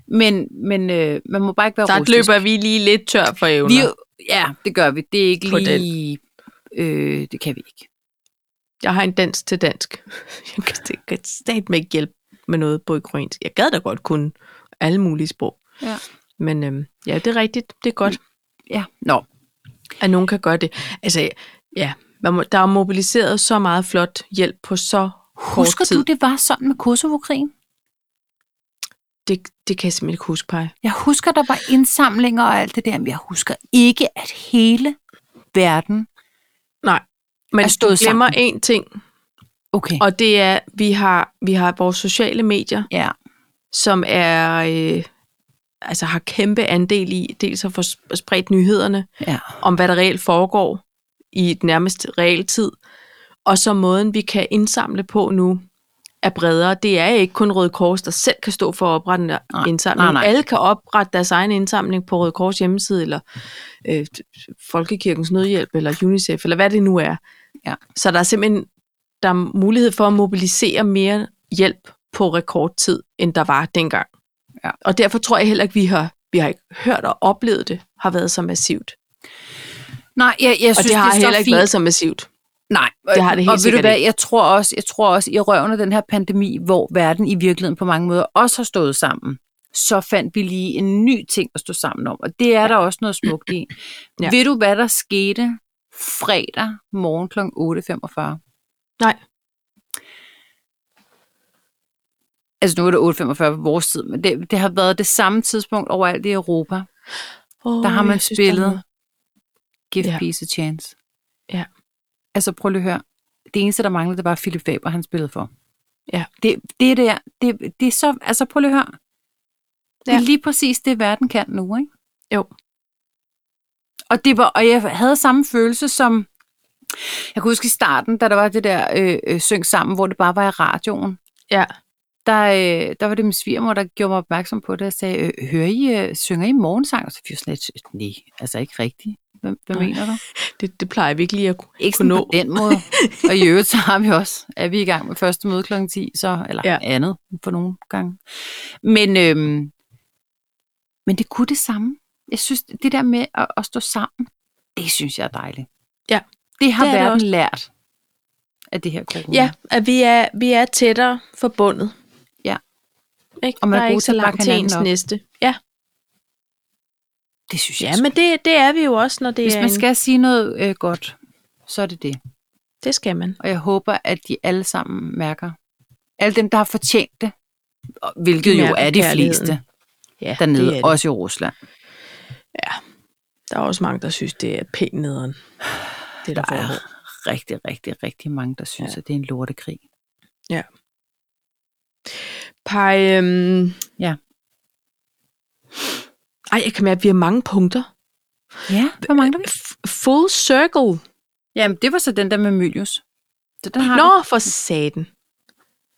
S1: Men, men øh, man må bare ikke være
S2: der
S1: rustisk.
S2: løber vi lige lidt tør for evner.
S1: Vi, ja, det gør vi. Det er ikke
S2: På
S1: lige... Øh, det kan vi ikke.
S2: jeg har en dans til dansk. [laughs] Jeg kan, jeg kan stat med ikke hjælpe med noget på ukrainsk. Jeg gad da godt kunne alle mulige sprog.
S1: Ja.
S2: Men øhm, ja, det er rigtigt. Det er godt,
S1: Ja, nå.
S2: at nogen kan gøre det. Altså, ja, man må, der er mobiliseret så meget flot hjælp på så kort
S1: Husker
S2: tid.
S1: du, det var sådan med Kosovo-krigen?
S2: Det, det kan jeg simpelthen ikke huske, Paj.
S1: Jeg husker, der var indsamlinger og alt det der, men jeg husker ikke, at hele verden...
S2: Nej, men
S1: Er
S2: du
S1: stået
S2: glemmer én ting,
S1: Okay.
S2: og det er, vi har, vi har vores sociale medier,
S1: Ja,
S2: som er... Øh, altså har kæmpe andel i dels at få sp- spredt nyhederne,
S1: ja.
S2: om hvad der reelt foregår i et nærmest reelt tid, og så måden, vi kan indsamle på nu, er bredere. Det er ikke kun Røde Kors, der selv kan stå for at oprette en indsamling.
S1: nej, nej.
S2: Alle kan oprette deres egen indsamling på Røde Kors hjemmeside, eller øh, Folkekirkens Nødhjælp, eller UNICEF, eller hvad det nu er.
S1: Ja.
S2: Så der er simpelthen der er mulighed for at mobilisere mere hjælp på rekordtid, end der var dengang.
S1: Ja.
S2: Og derfor tror jeg heller ikke, vi har, vi har ikke hørt og oplevet det, har været så massivt.
S1: Nej, jeg, jeg
S2: og
S1: synes,
S2: det har
S1: det er så
S2: heller ikke
S1: fint.
S2: været så massivt.
S1: Nej,
S2: Det har det helt
S1: og ved du
S2: sikkert
S1: hvad,
S2: ikke.
S1: jeg tror også, jeg tror også i røven af den her pandemi, hvor verden i virkeligheden på mange måder også har stået sammen, så fandt vi lige en ny ting at stå sammen om, og det er der også noget smukt i.
S2: [clears throat] Ja.
S1: ja. Ved du, hvad der skete fredag morgen kl. 8.45?
S2: Nej.
S1: Altså nu er det 8.45 på vores tid, men det, det har været det samme tidspunkt overalt i Europa.
S2: Oh,
S1: Der har man spillet Give
S2: Ja.
S1: ja. Peace a Chance.
S2: Ja.
S1: Altså prøv lige at høre. Det eneste, der manglede, det var Philip Faber, han spillede for.
S2: Ja.
S1: Det, det der, det, det er så, altså prøv lige at høre. Det
S2: Ja.
S1: er lige præcis det, verden kan nu, ikke?
S2: Jo.
S1: Og, det var, og jeg havde samme følelse som, jeg kan huske i starten, da der var det der øh, øh, syng sammen, hvor det bare var i radioen.
S2: Ja.
S1: Der, øh, der var det min svigermor, der gjorde mig opmærksom på det og sagde, øh, hører I, øh, synger I morgensang? Og så fik jeg sådan lidt, nej, altså ikke rigtigt. Hvad, hvad
S2: Nej.
S1: mener du?
S2: Det, det plejer vi ikke lige at kunne
S1: Ikke sådan
S2: nå.
S1: på den måde. og i øvrigt, så har vi også, er vi i gang med første møde kl. 10, så, eller
S2: Ja.
S1: ja. andet for nogle gange. Men, øhm, men det kunne det samme. Jeg synes, det der med at, at stå sammen, det synes jeg er dejligt.
S2: Ja.
S1: Det har
S2: Det
S1: det
S2: er det
S1: verden
S2: også.
S1: det lært af det her corona.
S2: Ja, at vi er, vi er tættere forbundet.
S1: Ja.
S2: Ikke?
S1: Og man
S2: der
S1: er
S2: er
S1: god
S2: ikke
S1: til
S2: så
S1: at bakke
S2: langt til ens
S1: hinanden op.
S2: næste. Ja,
S1: Det synes jeg.
S2: ja
S1: er
S2: men det, det er vi jo også, når det
S1: Hvis
S2: er
S1: man
S2: en-
S1: skal sige noget øh, godt, så er det det.
S2: Det skal man.
S1: Og jeg håber, at de alle sammen mærker. Alle dem, der har fortjent det. og- Hvilket
S2: De
S1: jo
S2: mærker
S1: er de
S2: kærligheden.
S1: fleste
S2: Ja,
S1: dernede,
S2: det er det.
S1: også i Rusland.
S2: Der er også mange, der synes, det er pænt nederen. Det der,
S1: Der er
S2: der
S1: rigtig, rigtig, rigtig mange, der synes,
S2: Ja.
S1: ja. at det er en lortekrig.
S2: Pej, øhm...
S1: Ja.
S2: Ej, jeg kan mærke, at vi har mange punkter.
S1: Ja, hvor mangler vi?
S2: F- full circle.
S1: Jamen, det var så den der med Mylius. Så den har
S2: Nå, for satan.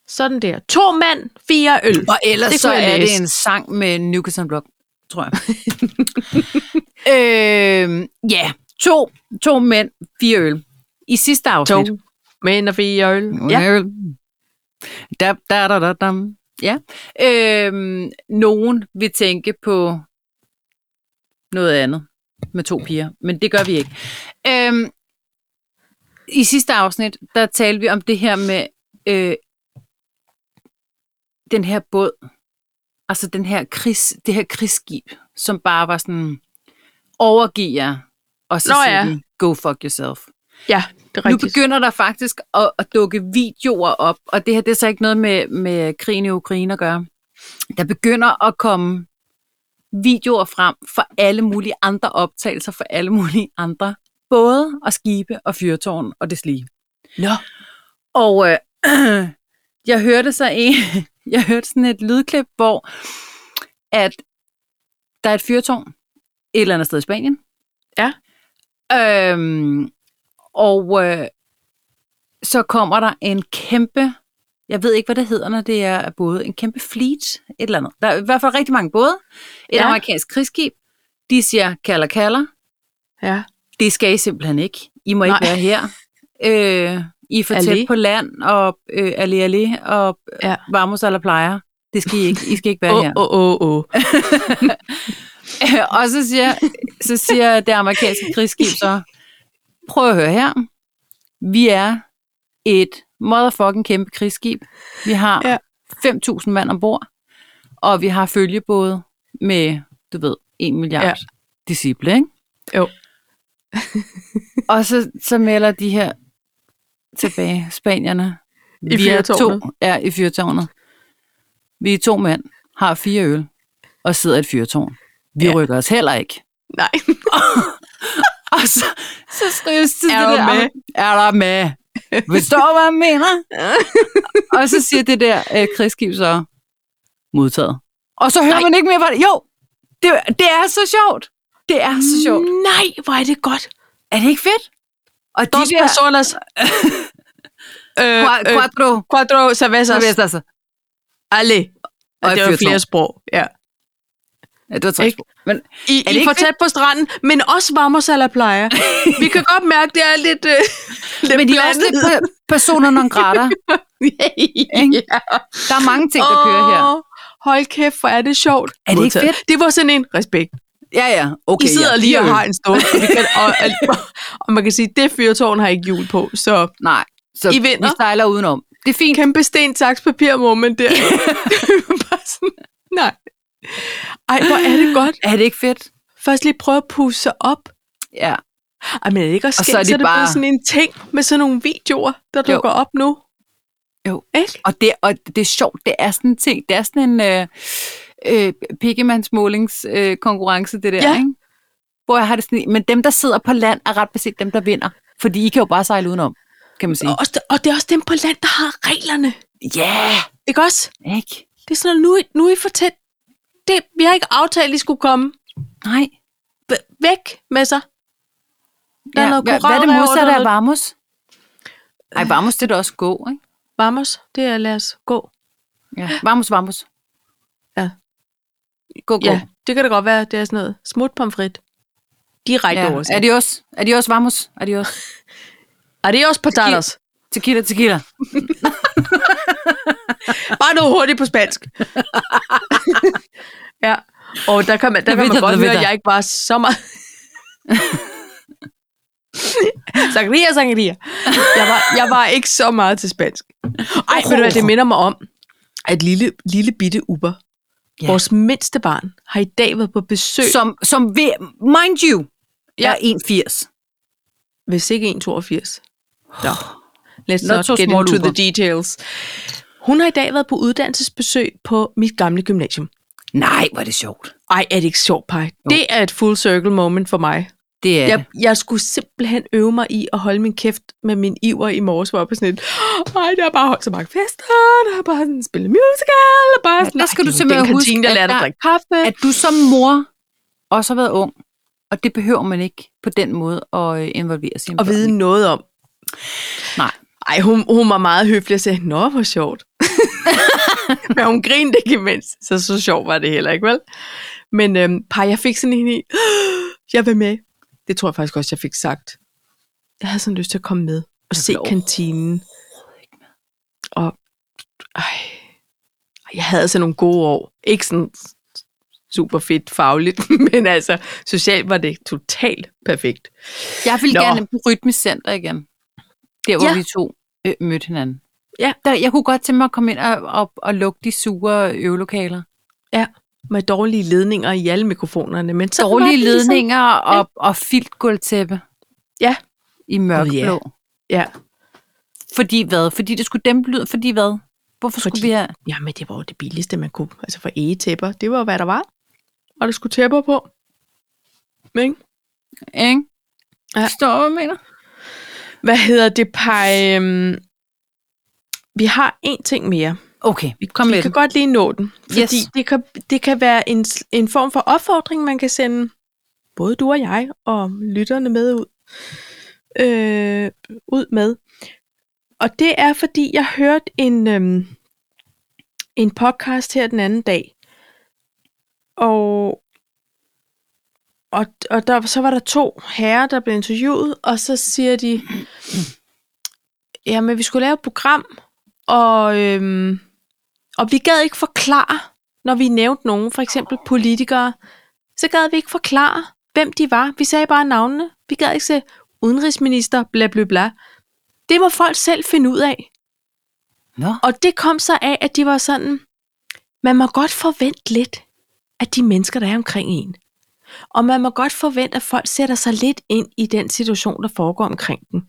S2: Sådan der. To mænd, fire øl.
S1: Og ellers
S2: Det
S1: det så
S2: kunne jeg
S1: er
S2: læse.
S1: det en sang med Newcastle Block, tror [laughs] jeg. øhm, ja, to, to mænd, fire øl. I sidste afsnit.
S2: To mænd og fire øl.
S1: Ja.
S2: Ja,
S1: Da, da, da, da, da. Ja. Øhm, nogen vil tænke på noget andet med to piger, men det gør vi ikke. Øhm, I sidste afsnit, der talte vi om det her med øh, den her båd, altså den her krigs, det her krigsskib, som bare var sådan, overgiv jer, og så
S2: Nå
S1: siger
S2: ja.
S1: den, go fuck yourself.
S2: ja det er
S1: Nu
S2: rigtigt.
S1: begynder der faktisk at, at dukke videoer op, og det her det er så ikke noget med, med krigen i Ukraine at gøre. Der begynder at komme videoer frem for alle mulige andre optagelser, for alle mulige andre både og skibe og fyrtårn og det slige.
S2: Nå,
S1: Og øh, [clears throat] jeg hørte så en, [laughs] jeg hørte sådan et lydklip, hvor at der er et fyrtårn et eller andet sted i Spanien.
S2: Ja.
S1: Øhm, og øh, så kommer der en kæmpe, jeg ved ikke, hvad det hedder, når det er både en kæmpe fleet, et eller andet. Der er i hvert fald rigtig mange både. Et
S2: Ja.
S1: ja. amerikansk krigsskib. De siger, kalder, kalder
S2: ja.
S1: det skal I simpelthen ikke. I må ikke
S2: Nej.
S1: være her. Øh, I er for tæt
S2: Allé.
S1: på land, og øh, alle alle og
S2: Ja.
S1: ja. varmus eller plejer. Det skal I ikke. I skal ikke være
S2: Åh,
S1: her.
S2: åh, åh, åh.
S1: [laughs] og så siger, så siger det amerikanske krigsskib så, prøv at høre her. Vi er et motherfucking kæmpe krigsskib. Vi har
S2: Ja.
S1: ja. 5.000 mand ombord, og vi har følgebåde med, du ved, 1 milliard
S2: Ja.
S1: ja. disciple, ikke?
S2: Jo.
S1: [laughs] og så, så melder de her tilbage, spanierne.
S2: I
S1: vi er to,
S2: fyrtårnet.
S1: ja, i fyrtårnet. Vi er to mænd, har fire øl og sidder i et fyrtårn. Vi
S2: Ja.
S1: ja. rykker os heller ikke.
S2: Nej.
S1: [laughs] Og så, så skrives det
S2: Er
S1: det
S2: du
S1: der,
S2: med?
S1: Er der med? Forstår, hvad jeg
S2: [laughs]
S1: mener? og så siger det der øh, krigsskib så, modtaget. Og så hører
S2: Nej.
S1: Nej. man ikke mere, hvad det Jo, det, det er så sjovt. [laughs] Det er
S2: Mm.
S1: så sjovt.
S2: Nej, hvor er det godt.
S1: Er det ikke fedt? Og de
S2: Dos
S1: der [laughs]
S2: personas. øh,
S1: qua-
S2: øh,
S1: quattro,
S2: quattro cervezas.
S1: så vidste altså.
S2: Alle. Og
S1: Og
S2: det
S1: et
S2: var
S1: fyrtårn.
S2: flere sprog. Ja.
S1: Ja, det var tre
S2: Ikke?
S1: sprog. Men
S2: I,
S1: det
S2: I
S1: ikke
S2: for tæt på stranden, men også
S1: [laughs]
S2: varmersalaplejer. Vi kan godt mærke, det er lidt, øh, lidt
S1: Men de er også [laughs]
S2: blandet. [laughs]
S1: lidt pe- personer non grata. Ikke? Der er mange ting, der kører her.
S2: Åh, Hold kæft, hvor er det sjovt.
S1: Er det ikke
S2: Modtaget.
S1: fedt?
S2: Det var sådan en respekt.
S1: Ja, ja. Okay,
S2: I sidder
S1: ja.
S2: lige og
S1: Fyrtårn.
S2: har en stål, og, det kan, og, [laughs] og, og man kan sige, det fyrtårn har ikke hjul på, så
S1: Nej, så
S2: I vinder.
S1: vi sejler udenom. Det er fint.
S2: kæmpe sten, saks, papir
S1: [laughs]
S2: moment der. Bare sådan, nej. Ej, hvor er det godt.
S1: Er det ikke fedt?
S2: Først lige prøve at pusse sig op.
S1: Ja.
S2: Ej, men er det ikke også
S1: Og så
S2: skægt,
S1: er
S2: så
S1: de
S2: er det
S1: bare-
S2: blevet sådan en ting med sådan nogle videoer, der
S1: Jo.
S2: dukker op nu.
S1: Jo.
S2: Ikke?
S1: Og det, og det er sjovt, det er sådan en ting, det er sådan en øh, øh, pikkemandsmålingskonkurrence, øh, konkurrence, det der,
S2: Ja.
S1: ikke? Hvor jeg har det sådan, men dem, der sidder på land, er ret beset dem, der vinder. Fordi I kan jo bare sejle udenom, kan man sige.
S2: Og, også- og det er også dem på land, der har reglerne.
S1: Ja,
S2: Ikke også?
S1: yeah, ikke?
S2: Det er sådan noget, nu, er I- nu er I for tæt. Det, vi har ikke aftalt, at I skulle komme.
S1: Nej.
S2: V- væk med sig. Der er noget
S1: hvad, hvad er det
S2: koralrev,
S1: modsatte
S2: der er
S1: af
S2: noget-
S1: Vamos? Ej, Vamos, det er da også god, ikke?
S2: Vamos, det er lad os gå.
S1: Ja. Vamos, Vamos.
S2: Ja.
S1: Gå, gå.
S2: Ja, det kan da godt være, det er sådan noget smut pomfrit. Direkte ja.
S1: ja.
S2: oversat.
S1: Adios. Adios, Vamos. Adios.
S2: Adios patatas.
S1: Tequila, tequila.
S2: Bare noget hurtigt på spansk. ja. Og der kan man, der
S1: Det
S2: kan
S1: ved
S2: man
S1: jeg,
S2: godt
S1: det ved
S2: høre, at
S1: jeg.
S2: jeg ikke var så meget... sangria, sangria. Jeg var, jeg var ikke så meget til spansk. Ej, ved du hvad, det minder mig om, at lille, lille bitte Uber,
S1: Ja.
S2: ja. vores mindste barn, har i dag været på besøg, så...
S1: Som, som ved, mind you,
S2: Ja.
S1: jeg er 1,80.
S2: hvis ikke 1,82. Nå. Let's
S1: Not
S2: not,
S1: so
S2: not get
S1: small
S2: into
S1: Uber.
S2: the details. Hun har i dag været på uddannelsesbesøg på mit gamle gymnasium.
S1: Nej, hvor er det sjovt.
S2: Ej, er det ikke sjovt, Paj? Det er et full circle moment for mig.
S1: Det er
S2: Jeg, jeg skulle simpelthen øve mig i at holde min kæft med min iver i morges, hvor jeg var sådan et, ej, der er bare holdt så mange fester, der er bare sådan spillet musical, og bare sådan,
S1: der skal
S2: "Ej,
S1: du
S2: det er jo
S1: simpelthen
S2: den
S1: huske,
S2: kantine, der
S1: at
S2: lærer dig
S1: der-
S2: at drikke kaffe.
S1: at du som mor også har været ung, og det behøver man ikke på den måde at øh, involvere sig
S2: og vide noget om.
S1: Nej.
S2: Ej, hun, hun var meget høflig og sagde, nå, hvor sjovt. [laughs] Men hun grinede ikke imens, så så sjovt var det heller ikke, vel? Men øhm, par, jeg fik sådan en i, jeg vil med. Det tror jeg faktisk også, jeg fik sagt. Jeg havde sådan lyst til at komme med og se
S1: vil
S2: kantinen. Og ej, Ej, jeg havde sådan nogle gode år. Ikke sådan super fedt fagligt, [laughs] men altså socialt var det totalt perfekt.
S1: Jeg vil Nå.
S2: Nå.
S1: gerne på rytmecenter igen. Der, hvor ja.
S2: Ja.
S1: vi to øh, mødte hinanden.
S2: Ja.
S1: Der, jeg kunne godt tænke mig at komme ind og, og, og lukke de sure øvelokaler.
S2: med dårlige ledninger i alle mikrofonerne. Men så
S1: Dårlige ledninger og, og filtgulvtæppe.
S2: Ja.
S1: I mørkblå. Oh,
S2: Ja,
S1: Fordi hvad? Fordi det skulle dæmpe lyden. Fordi hvad? Hvorfor fordi...
S2: Fordi-
S1: skulle vi have...
S2: jamen det var jo det billigste, man kunne. Altså for egetæpper, det var hvad der var. Og der skulle tæpper på. Men,
S1: Ikke?
S2: Ja.
S1: Forstår du, hvad jeg mener?
S2: hvad hedder det, Paj? Øhm, Vi har en ting mere.
S1: Okay, kom
S2: vi
S1: med
S2: kan
S1: den.
S2: godt lige nå den. Fordi
S1: Yes.
S2: det, kan, det kan være en, s- en form for opfordring, man kan sende både du og jeg og lytterne med ud, øh, ud med. Og det er, fordi jeg hørte en, øhm, en podcast her den anden dag, og, og, og der, så var der to herrer, der blev interviewet, og så siger de, jamen vi skulle lave et program, og, øhm, og vi gad ikke forklare, når vi nævnte nogen, for eksempel politikere, så gad vi ikke forklare, hvem de var. Vi sagde bare navnene. Vi gad ikke se udenrigsminister, bla bla bla. Det må folk selv finde ud af.
S1: Nå.
S2: Og det kom så af, at de var sådan, man må godt forvente lidt af de mennesker, der er omkring en. Og man må godt forvente, at folk sætter sig lidt ind i den situation, der foregår omkring dem.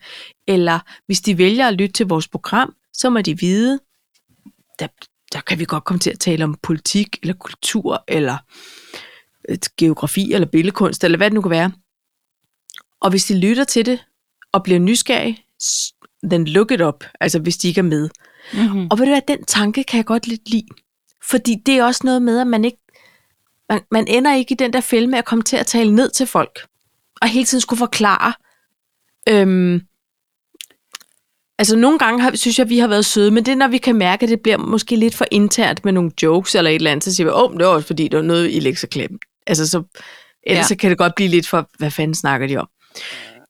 S2: Eller hvis de vælger at lytte til vores program, så må de vide, der, der kan vi godt komme til at tale om politik, eller kultur, eller øh, geografi, eller billedkunst, eller hvad det nu kan være. Og hvis de lytter til det, og bliver nysgerrige, s- then look it up, altså hvis de ikke er med.
S1: Mm-hmm.
S2: Og ved du hvad, den tanke kan jeg godt lidt lide. Fordi det er også noget med, at man ikke man, man ender ikke i den der fælde med at komme til at tale ned til folk. Og hele tiden skulle forklare. Øhm, altså nogle gange har, synes jeg, at vi har været søde, men det er, når vi kan mærke, at det bliver måske lidt for internt med nogle jokes eller et eller andet, så siger vi, åh, oh, det var også fordi, det var noget i lektieklæben. Altså så, ellers
S1: Ja.
S2: ja. så kan det godt blive lidt for, hvad fanden snakker de om?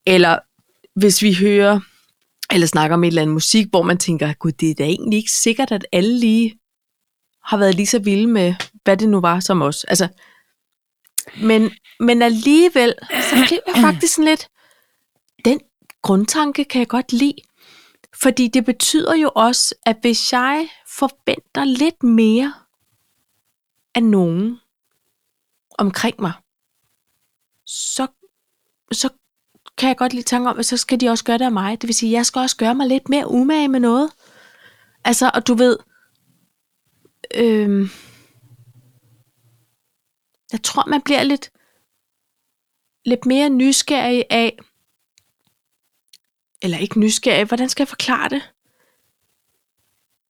S2: Eller hvis vi hører eller snakker om et eller andet musik, hvor man tænker, gud, det er da egentlig ikke sikkert, at alle lige har været lige så vilde med, hvad det nu var som os. Altså, men, men alligevel, så blev jeg faktisk sådan lidt, den grundtanke kan jeg godt lide. Fordi det betyder jo også, at hvis jeg forventer lidt mere af nogen omkring mig, så, så kan jeg godt lige tanke om, at så skal de også gøre det af mig. Det vil sige, at jeg skal også gøre mig lidt mere umage med noget. Altså, og du ved, øhm, jeg tror, man bliver lidt, lidt mere nysgerrig af, eller ikke nysgerrig, hvordan skal jeg forklare det?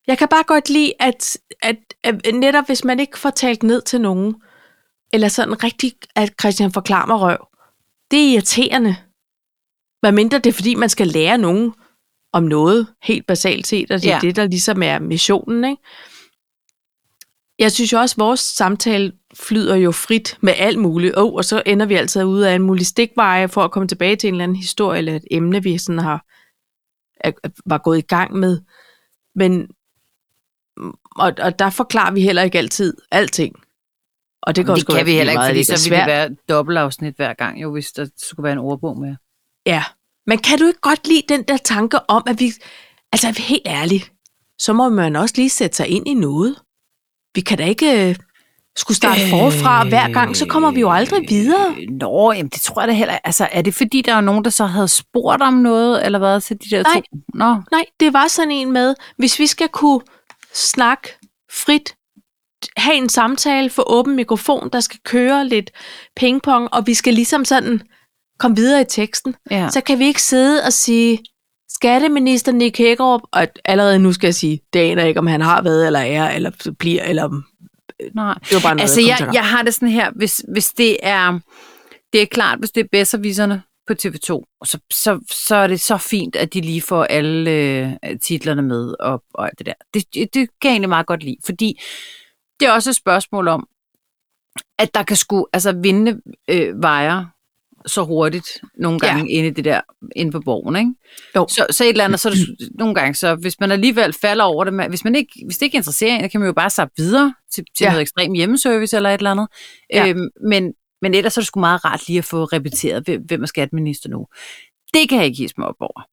S2: Jeg kan bare godt lide, at, at, at netop hvis man ikke får talt ned til nogen, eller sådan rigtig, at Christian forklarer mig røv, det er irriterende. Hvad mindre det er, fordi man skal lære nogen om noget, helt basalt set, og det er
S1: Ja.
S2: ja. det, der ligesom er missionen, ikke? Jeg synes jo også, at vores samtale flyder jo frit med alt muligt, oh, og så ender vi altid ude af en mulig stikveje for at komme tilbage til en eller anden historie eller et emne, vi sådan har er, var gået i gang med. Men og, og der forklarer vi heller ikke altid alting. Og det, går
S1: Det
S2: sgu
S1: kan
S2: også
S1: vi heller ikke,
S2: meget,
S1: fordi
S2: det er
S1: så ville det
S2: svært.
S1: være dobbeltafsnit hver gang, jo, hvis der skulle være en ordbog med.
S2: Ja. Men kan du ikke godt lide den der tanke om, at vi... Altså, er vi helt ærligt, så må man også lige sætte sig ind i noget. Vi kan da ikke øh, skulle starte øh, forfra hver gang, så kommer vi jo aldrig videre.
S1: Øh, Nå, jamen det tror jeg da heller Altså, er det fordi, der er nogen, der så havde spurgt om noget, eller hvad, til de der
S2: Nej.
S1: to? Nå,
S2: Nej, det var sådan en med, hvis vi skal kunne snakke frit, have en samtale for åben mikrofon, der skal køre lidt pingpong, og vi skal ligesom sådan komme videre i teksten,
S1: ja.
S2: så kan vi ikke sidde og sige, skatteminister Nick Hækkerup, og allerede nu skal jeg sige, det aner jeg ikke, om han har været, eller er, eller bliver, eller om-
S1: Nej.
S2: det var bare noget,
S1: Altså,
S2: kom til
S1: jeg,
S2: at-
S1: jeg har det sådan her, hvis, hvis det er... Det er klart, hvis det er bedserviserne på TV2, så, så, så er det så fint, at de lige får alle øh, titlerne med og, og alt det der. Det, det kan jeg egentlig meget godt lide, fordi det er også et spørgsmål om, at der kan sgu altså, vinde øh, vejer så hurtigt nogle gange ja. inde i det der, inde på borgen, ikke?
S2: Jo.
S1: Så, så et eller andet, så er det s- nogle gange, så hvis man alligevel falder over det, man, hvis, man ikke, hvis det ikke interesserer en, så kan man jo bare sappe videre til, til ja.
S2: Ja.
S1: noget ekstrem hjemmeservice eller et eller andet. Ja.
S2: Ja.
S1: Øhm, men, men ellers er det sgu meget rart lige at få repeteret, hvem, hvem er skatminister nu. Det kan jeg ikke hisse mig op over.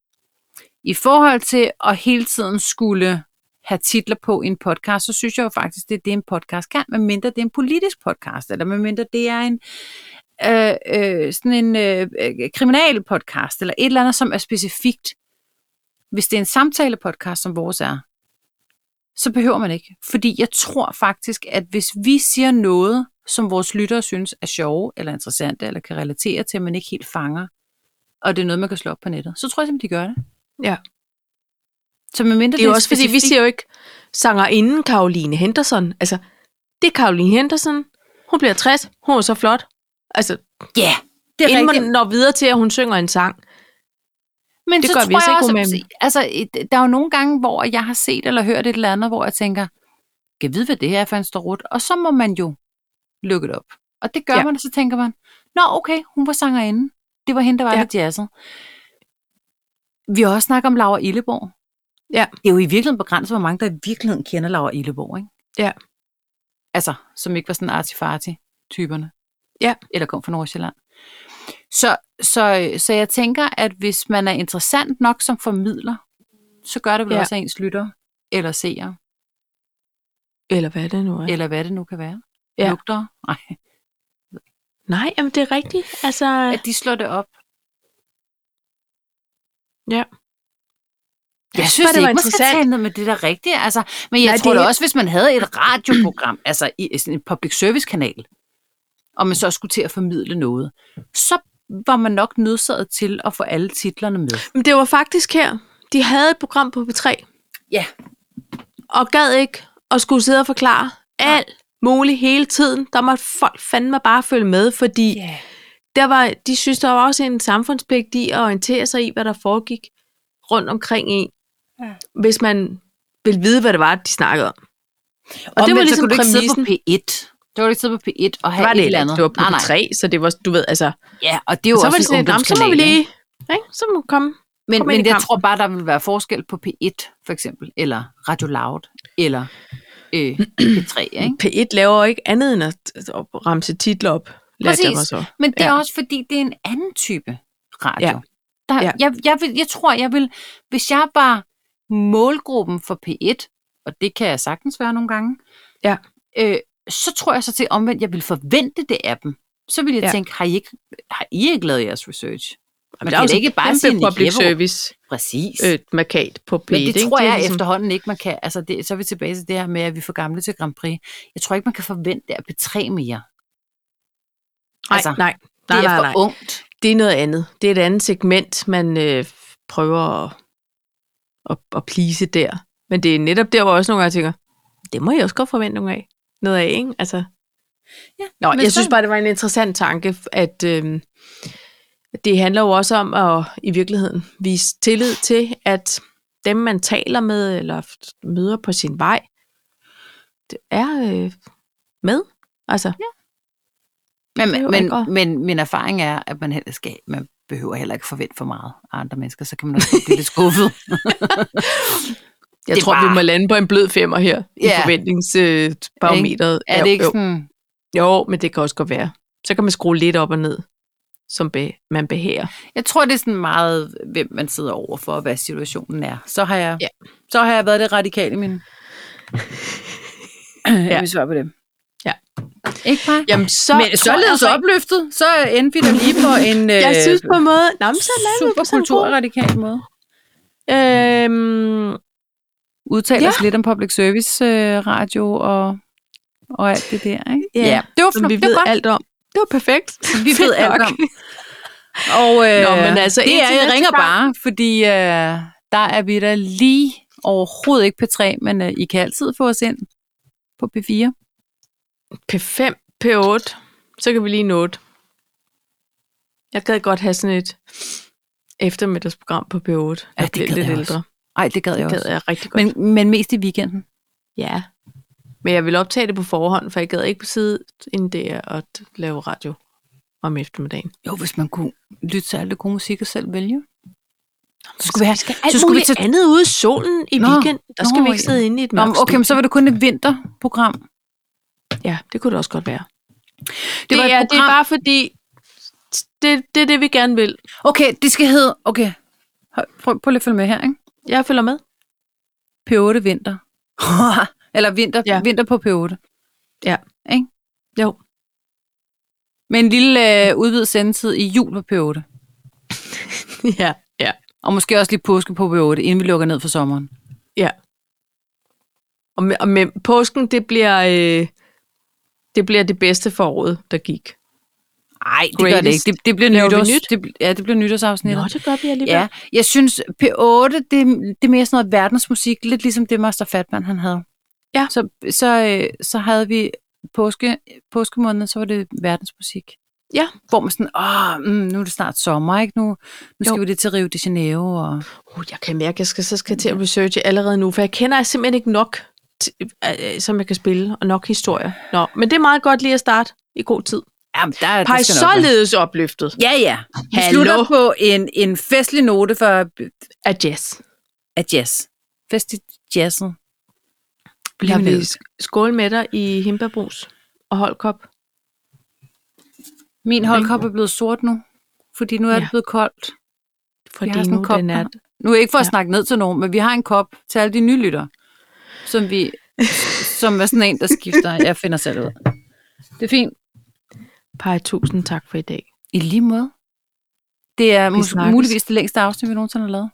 S1: I forhold til at hele tiden skulle have titler på i en podcast, så synes jeg jo faktisk, det er det, en podcast kan, medmindre det er en politisk podcast, eller medmindre det er en øh, øh, sådan en øh, øh, kriminalpodcast, eller et eller andet, som er specifikt. Hvis det er en samtalepodcast, som vores er, så behøver man ikke. Fordi jeg tror faktisk, at hvis vi siger noget, som vores lyttere synes er sjove, eller interessante, eller kan relatere til, at man ikke helt fanger, og det er noget, man kan slå op på nettet, så tror jeg simpelthen, de gør det.
S2: Ja.
S1: Så medmindre
S2: Det er jo
S1: er
S2: også, fordi vi
S1: specifikt-
S2: siger jo ikke sangerinden Caroline Henderson. Altså, det er Caroline Henderson. Hun bliver 60. Hun er så flot. Altså,
S1: Ja, det er
S2: inden
S1: rigtigt.
S2: man når videre til, at hun synger en sang.
S1: Men
S2: Det
S1: så
S2: gør
S1: tror
S2: vi altså
S1: jeg
S2: ikke
S1: også,
S2: umage.
S1: altså, et- der er jo nogle gange, hvor jeg har set eller hørt et eller andet, hvor jeg tænker, kan vide, hvad det her er for en storut? Og så må man jo lukke det op. Og det gør ja.
S2: Ja.
S1: man, og så tænker man, nå okay, hun var sangerinde. Det var hende, der var ja.
S2: Ja.
S1: lidt jazzet. Vi har også snakket om Laura Illeborg.
S2: Ja.
S1: Det er jo i virkeligheden begrænset, hvor mange der i virkeligheden kender Laura Illeborg, ikke?
S2: Ja.
S1: Altså, som ikke var sådan artifarti-typerne.
S2: Ja.
S1: Eller kom fra Nordsjælland. Så, så, så jeg tænker, at hvis man er interessant nok som formidler, så gør det vel ja.
S2: Ja.
S1: også at ens lytter, eller seer,
S2: Eller hvad det nu er.
S1: ja. eller hvad det nu kan være. Ja.
S2: Ja.
S1: Lugter. Nej,
S2: Nej, jamen det er rigtigt. Altså,
S1: at de slår det op.
S2: ja.
S1: Jeg synes det
S2: var
S1: ikke, man skal
S2: interessant.
S1: tale ned med det der rigtige. Altså, men jeg Nej,
S2: Nej,
S1: tror
S2: det-
S1: det... da også, hvis man havde et radioprogram, altså i sådan en public service kanal, og man så skulle til at formidle noget, så var man nok nødsaget til at få alle titlerne med.
S2: Men det var faktisk her. De havde et program på P3.
S1: Ja.
S2: Og gad ikke at skulle sidde og forklare alt muligt hele tiden. Der måtte folk fandme bare følge med, fordi yeah. der var, de synes, der var også en samfundspligt i at orientere sig i, hvad der foregik rundt omkring en.
S1: Ja.
S2: Ja. Hvis man ville vide, hvad det var, de snakkede om.
S1: Og,
S2: det var
S1: men
S2: ligesom
S1: så kunne du ikke
S2: præmissen.
S1: sidde på P1. Det var ikke sidde på P1 og
S2: Det
S1: have
S2: var
S1: et
S2: det,
S1: eller
S2: eller
S1: andet.
S2: det var på
S1: nej, nej.
S2: P3, så det var, du ved, altså...
S1: Ja, og det er jo også
S2: så var det
S1: en
S2: sådan, "Nå, men så må
S1: ungdomskanal,
S2: vi
S1: ikke?"
S2: lige... Ikke? Så må vi komme
S1: Men,
S2: Kom ind
S1: men
S2: i
S1: jeg
S2: kampen.
S1: tror bare, der vil være forskel på P1, for eksempel, eller Radio Loud, eller øh, P3, ikke?
S2: P1 laver jo ikke andet end at at ramse titler op. lærte jeg mig
S1: Præcis.
S2: så.
S1: Men det er
S2: Ja.
S1: også, fordi det er en anden type radio.
S2: Ja.
S1: Ja. Der,
S2: Ja.
S1: ja. Jeg, jeg, vil, jeg tror, jeg vil... Hvis jeg var målgruppen for P1, og det kan jeg sagtens være nogle gange,
S2: Ja.
S1: øh, så tror jeg så til omvendt, jeg vil forvente det af dem. Så vil jeg
S2: Ja.
S1: ja. tænke, har I, ikke, har I ikke lavet jeres research?
S2: Men
S1: Man
S2: der er
S1: kan
S2: også
S1: da ikke bare
S2: kæmpe
S1: sige Nick
S2: public
S1: Jeppesen.
S2: service
S1: Præcis.
S2: øh, markat på P1.
S1: Men det
S2: ikke?
S1: tror
S2: er
S1: jeg
S2: ligesom-
S1: efterhånden ikke, man kan. Altså det, så er vi tilbage til det her med, at vi er for gamle til Grand Prix. Jeg tror ikke, man kan forvente at P3 mere.
S2: Nej,
S1: altså,
S2: nej,
S1: det
S2: nej,
S1: er
S2: nej,
S1: for
S2: nej.
S1: ungt.
S2: Det er noget andet. Det er et andet segment, man øh, prøver at, at, at plise der. Men det er netop der, hvor jeg også nogle gange tænker, det må jeg også godt forvente nogle af. Noget af, ikke? Altså,
S1: Ja,
S2: Nå,
S1: men
S2: jeg
S1: så-
S2: synes bare, det var en interessant tanke, at øh, det handler jo også om at i virkeligheden vise tillid til, at dem, man taler med eller f- møder på sin vej, det er øh, med. Altså,
S1: Men,
S2: Det er jo
S1: men, men,
S2: ikke-
S1: men min erfaring er, at man heller skal, man behøver heller ikke forvente for meget af andre mennesker, så kan man også godt blive lidt skuffet.
S2: jeg
S1: Det er
S2: tror,
S1: bare-
S2: vi må lande på en blød femmer her i
S1: Ja.
S2: forventningsbarometeret.
S1: [laughs] er det ikke sådan?
S2: Jo, men det kan også godt være. Så kan man skrue lidt op og ned, som be, man
S1: [clears throat]
S2: behærer.
S1: Jeg tror, det er sådan meget, hvem man sidder over for, og hvad situationen er. Så har jeg,
S2: Ja.
S1: ja. så har jeg været det radikale i min...
S2: Ja.
S1: Jeg vil svare på det.
S2: Ja.
S1: Ikke bare?
S2: Jamen, så
S1: Men således opløftet, så endte vi da lige på [laughs] en
S2: Jeg
S1: øh,
S2: synes på en måde, nå, men så lader vi
S1: super
S2: på sådan en god-
S1: kulturradikal måde.
S2: Øhm,
S1: Udtaler
S2: Ja.
S1: ja. os lidt om public service øh, radio og, og alt det der, ikke?
S2: Ja.
S1: det var,
S2: som
S1: flot.
S2: vi
S1: det var
S2: ved
S1: godt.
S2: alt om. Det var perfekt.
S1: Vi ved
S2: [laughs] Fedt
S1: alt
S2: nok.
S1: om. [laughs] Og øh,
S2: Nå, men altså,
S1: det
S2: indtil
S1: er, jeg
S2: næste
S1: ringer
S2: gang.
S1: bare, fordi øh, der er vi da lige overhovedet ikke på 3, men øh, I kan altid få os ind på P4.
S2: P5, P8, så kan vi lige nå det. Jeg gad godt have sådan et eftermiddagsprogram på P8. Ja, det
S1: det gad
S2: lidt
S1: jeg også.
S2: ældre.
S1: Nej, det gad jeg
S2: Det gad
S1: også.
S2: jeg rigtig godt.
S1: Men, men mest i weekenden.
S2: Ja. Men jeg vil optage det på forhånd, for jeg gad ikke sidde inden det er at lave radio om eftermiddagen.
S1: Jo, hvis man kunne lytte til alt det gode musik og selv vælge. Så skulle vi have,
S2: Alt
S1: så skulle vi tage
S2: andet ude i solen i
S1: Nå,
S2: weekenden. Der skal
S1: nå,
S2: vi ikke
S1: ja.
S2: sidde inde i et
S1: Nå,
S2: mørkt
S1: men okay, men så var det kun et vinterprogram.
S2: studie. Ja, det kunne det også godt være. Det,
S1: Det
S2: det,
S1: var et
S2: er, det er
S1: program.
S2: bare fordi, det, det er det, vi gerne vil.
S1: Okay, det skal hedde... Okay, Hold- prøv, prøv lige at følge med her, ikke?
S2: Jeg følger med.
S1: P8 [laughs] vinter. Eller vinter,
S2: Ja.
S1: ja. vinter på P8.
S2: Ja.
S1: Ikke?
S2: Jo. [laughs]
S1: Med en lille øh, udvidet sendetid i jul på P8.
S2: ja, ja,
S1: Og måske også lige påske på P8, inden vi lukker ned for sommeren.
S2: ja. Og med, og med påsken, det bliver, øh, det bliver det bedste foråret, der gik.
S1: Nej, det gør det
S2: Greatest.
S1: ikke. Det, det bliver
S2: Laver vi
S1: nytårs,
S2: nyt?
S1: det, bl- ja, det bliver nytårsafsnittet.
S2: det gør vi alligevel.
S1: Ja, jeg synes P8, det, det er mere sådan noget verdensmusik, lidt ligesom det Master Fatman han havde.
S2: Ja.
S1: Så, så, øh, så havde vi påske, påskemåneden, så var det verdensmusik.
S2: Ja.
S1: Hvor man sådan, åh, mm, nu er det snart sommer, ikke? Nu, nu skal
S2: Jo.
S1: vi lidt til Rio de Janeiro. Og...
S2: Uh, jeg kan mærke, at jeg skal, så skal jeg til at researche allerede nu, for jeg kender simpelthen ikke nok, til, øh, øh, som jeg kan spille, og nok historier. Nå, men det er meget godt lige at starte i god tid.
S1: Jamen, der, er
S2: Pej, således opløftet
S1: Ja, ja. Vi
S2: Hallo.
S1: slutter på en, en festlig note for
S2: af jazz.
S1: af jazz. Festlig jazzen.
S2: Jeg vil
S1: Blivet.
S2: sk- skåle med dig i himbeerbrus og holdkop.
S1: Min holdkop er blevet sort nu, fordi nu er ja.
S2: Mm. Ja.
S1: det blevet koldt.
S2: Fordi
S1: har sådan en
S2: nu
S1: kop
S2: den er...
S1: Nu er jeg ikke for at
S2: Ja.
S1: ja. snakke ned til nogen, men vi har en kop til alle de nylytter, som vi, som er sådan en, der skifter. Jeg finder selv ud. af. Det er fint.
S2: Pej, tusind tak for i dag.
S1: I lige måde. Det er
S2: Vi
S1: mus-
S2: snakkes.
S1: muligvis det længste afsnit, vi nogensinde har lavet.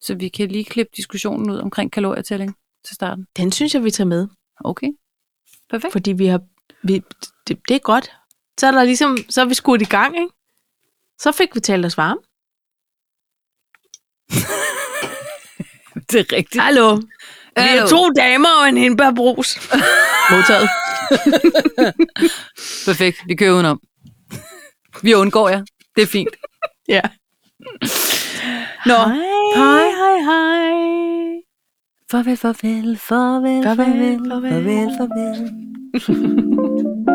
S1: Så vi kan lige klippe diskussionen ud omkring kalorietælling til starten.
S2: Den synes jeg, vi tager med,
S1: Okay. Perfekt.
S2: fordi vi har... Vi, det, det, er godt. Så er, der ligesom, så er vi skudt i gang, ikke? Så fik vi talt os varme.
S1: Det er rigtigt.
S2: Hallo. Vi er
S1: Hallo.
S2: to damer og en hindbærbrus. [laughs] Modtaget.
S1: Perfekt. Vi kører udenom. Vi undgår jer. Det er fint.
S2: Ja.
S1: Nå.
S2: Hej, hej, hej.
S1: Farvel, farvel, farvel,
S2: Farvel,
S1: farvel,
S2: farvel.
S1: farvel, farvel.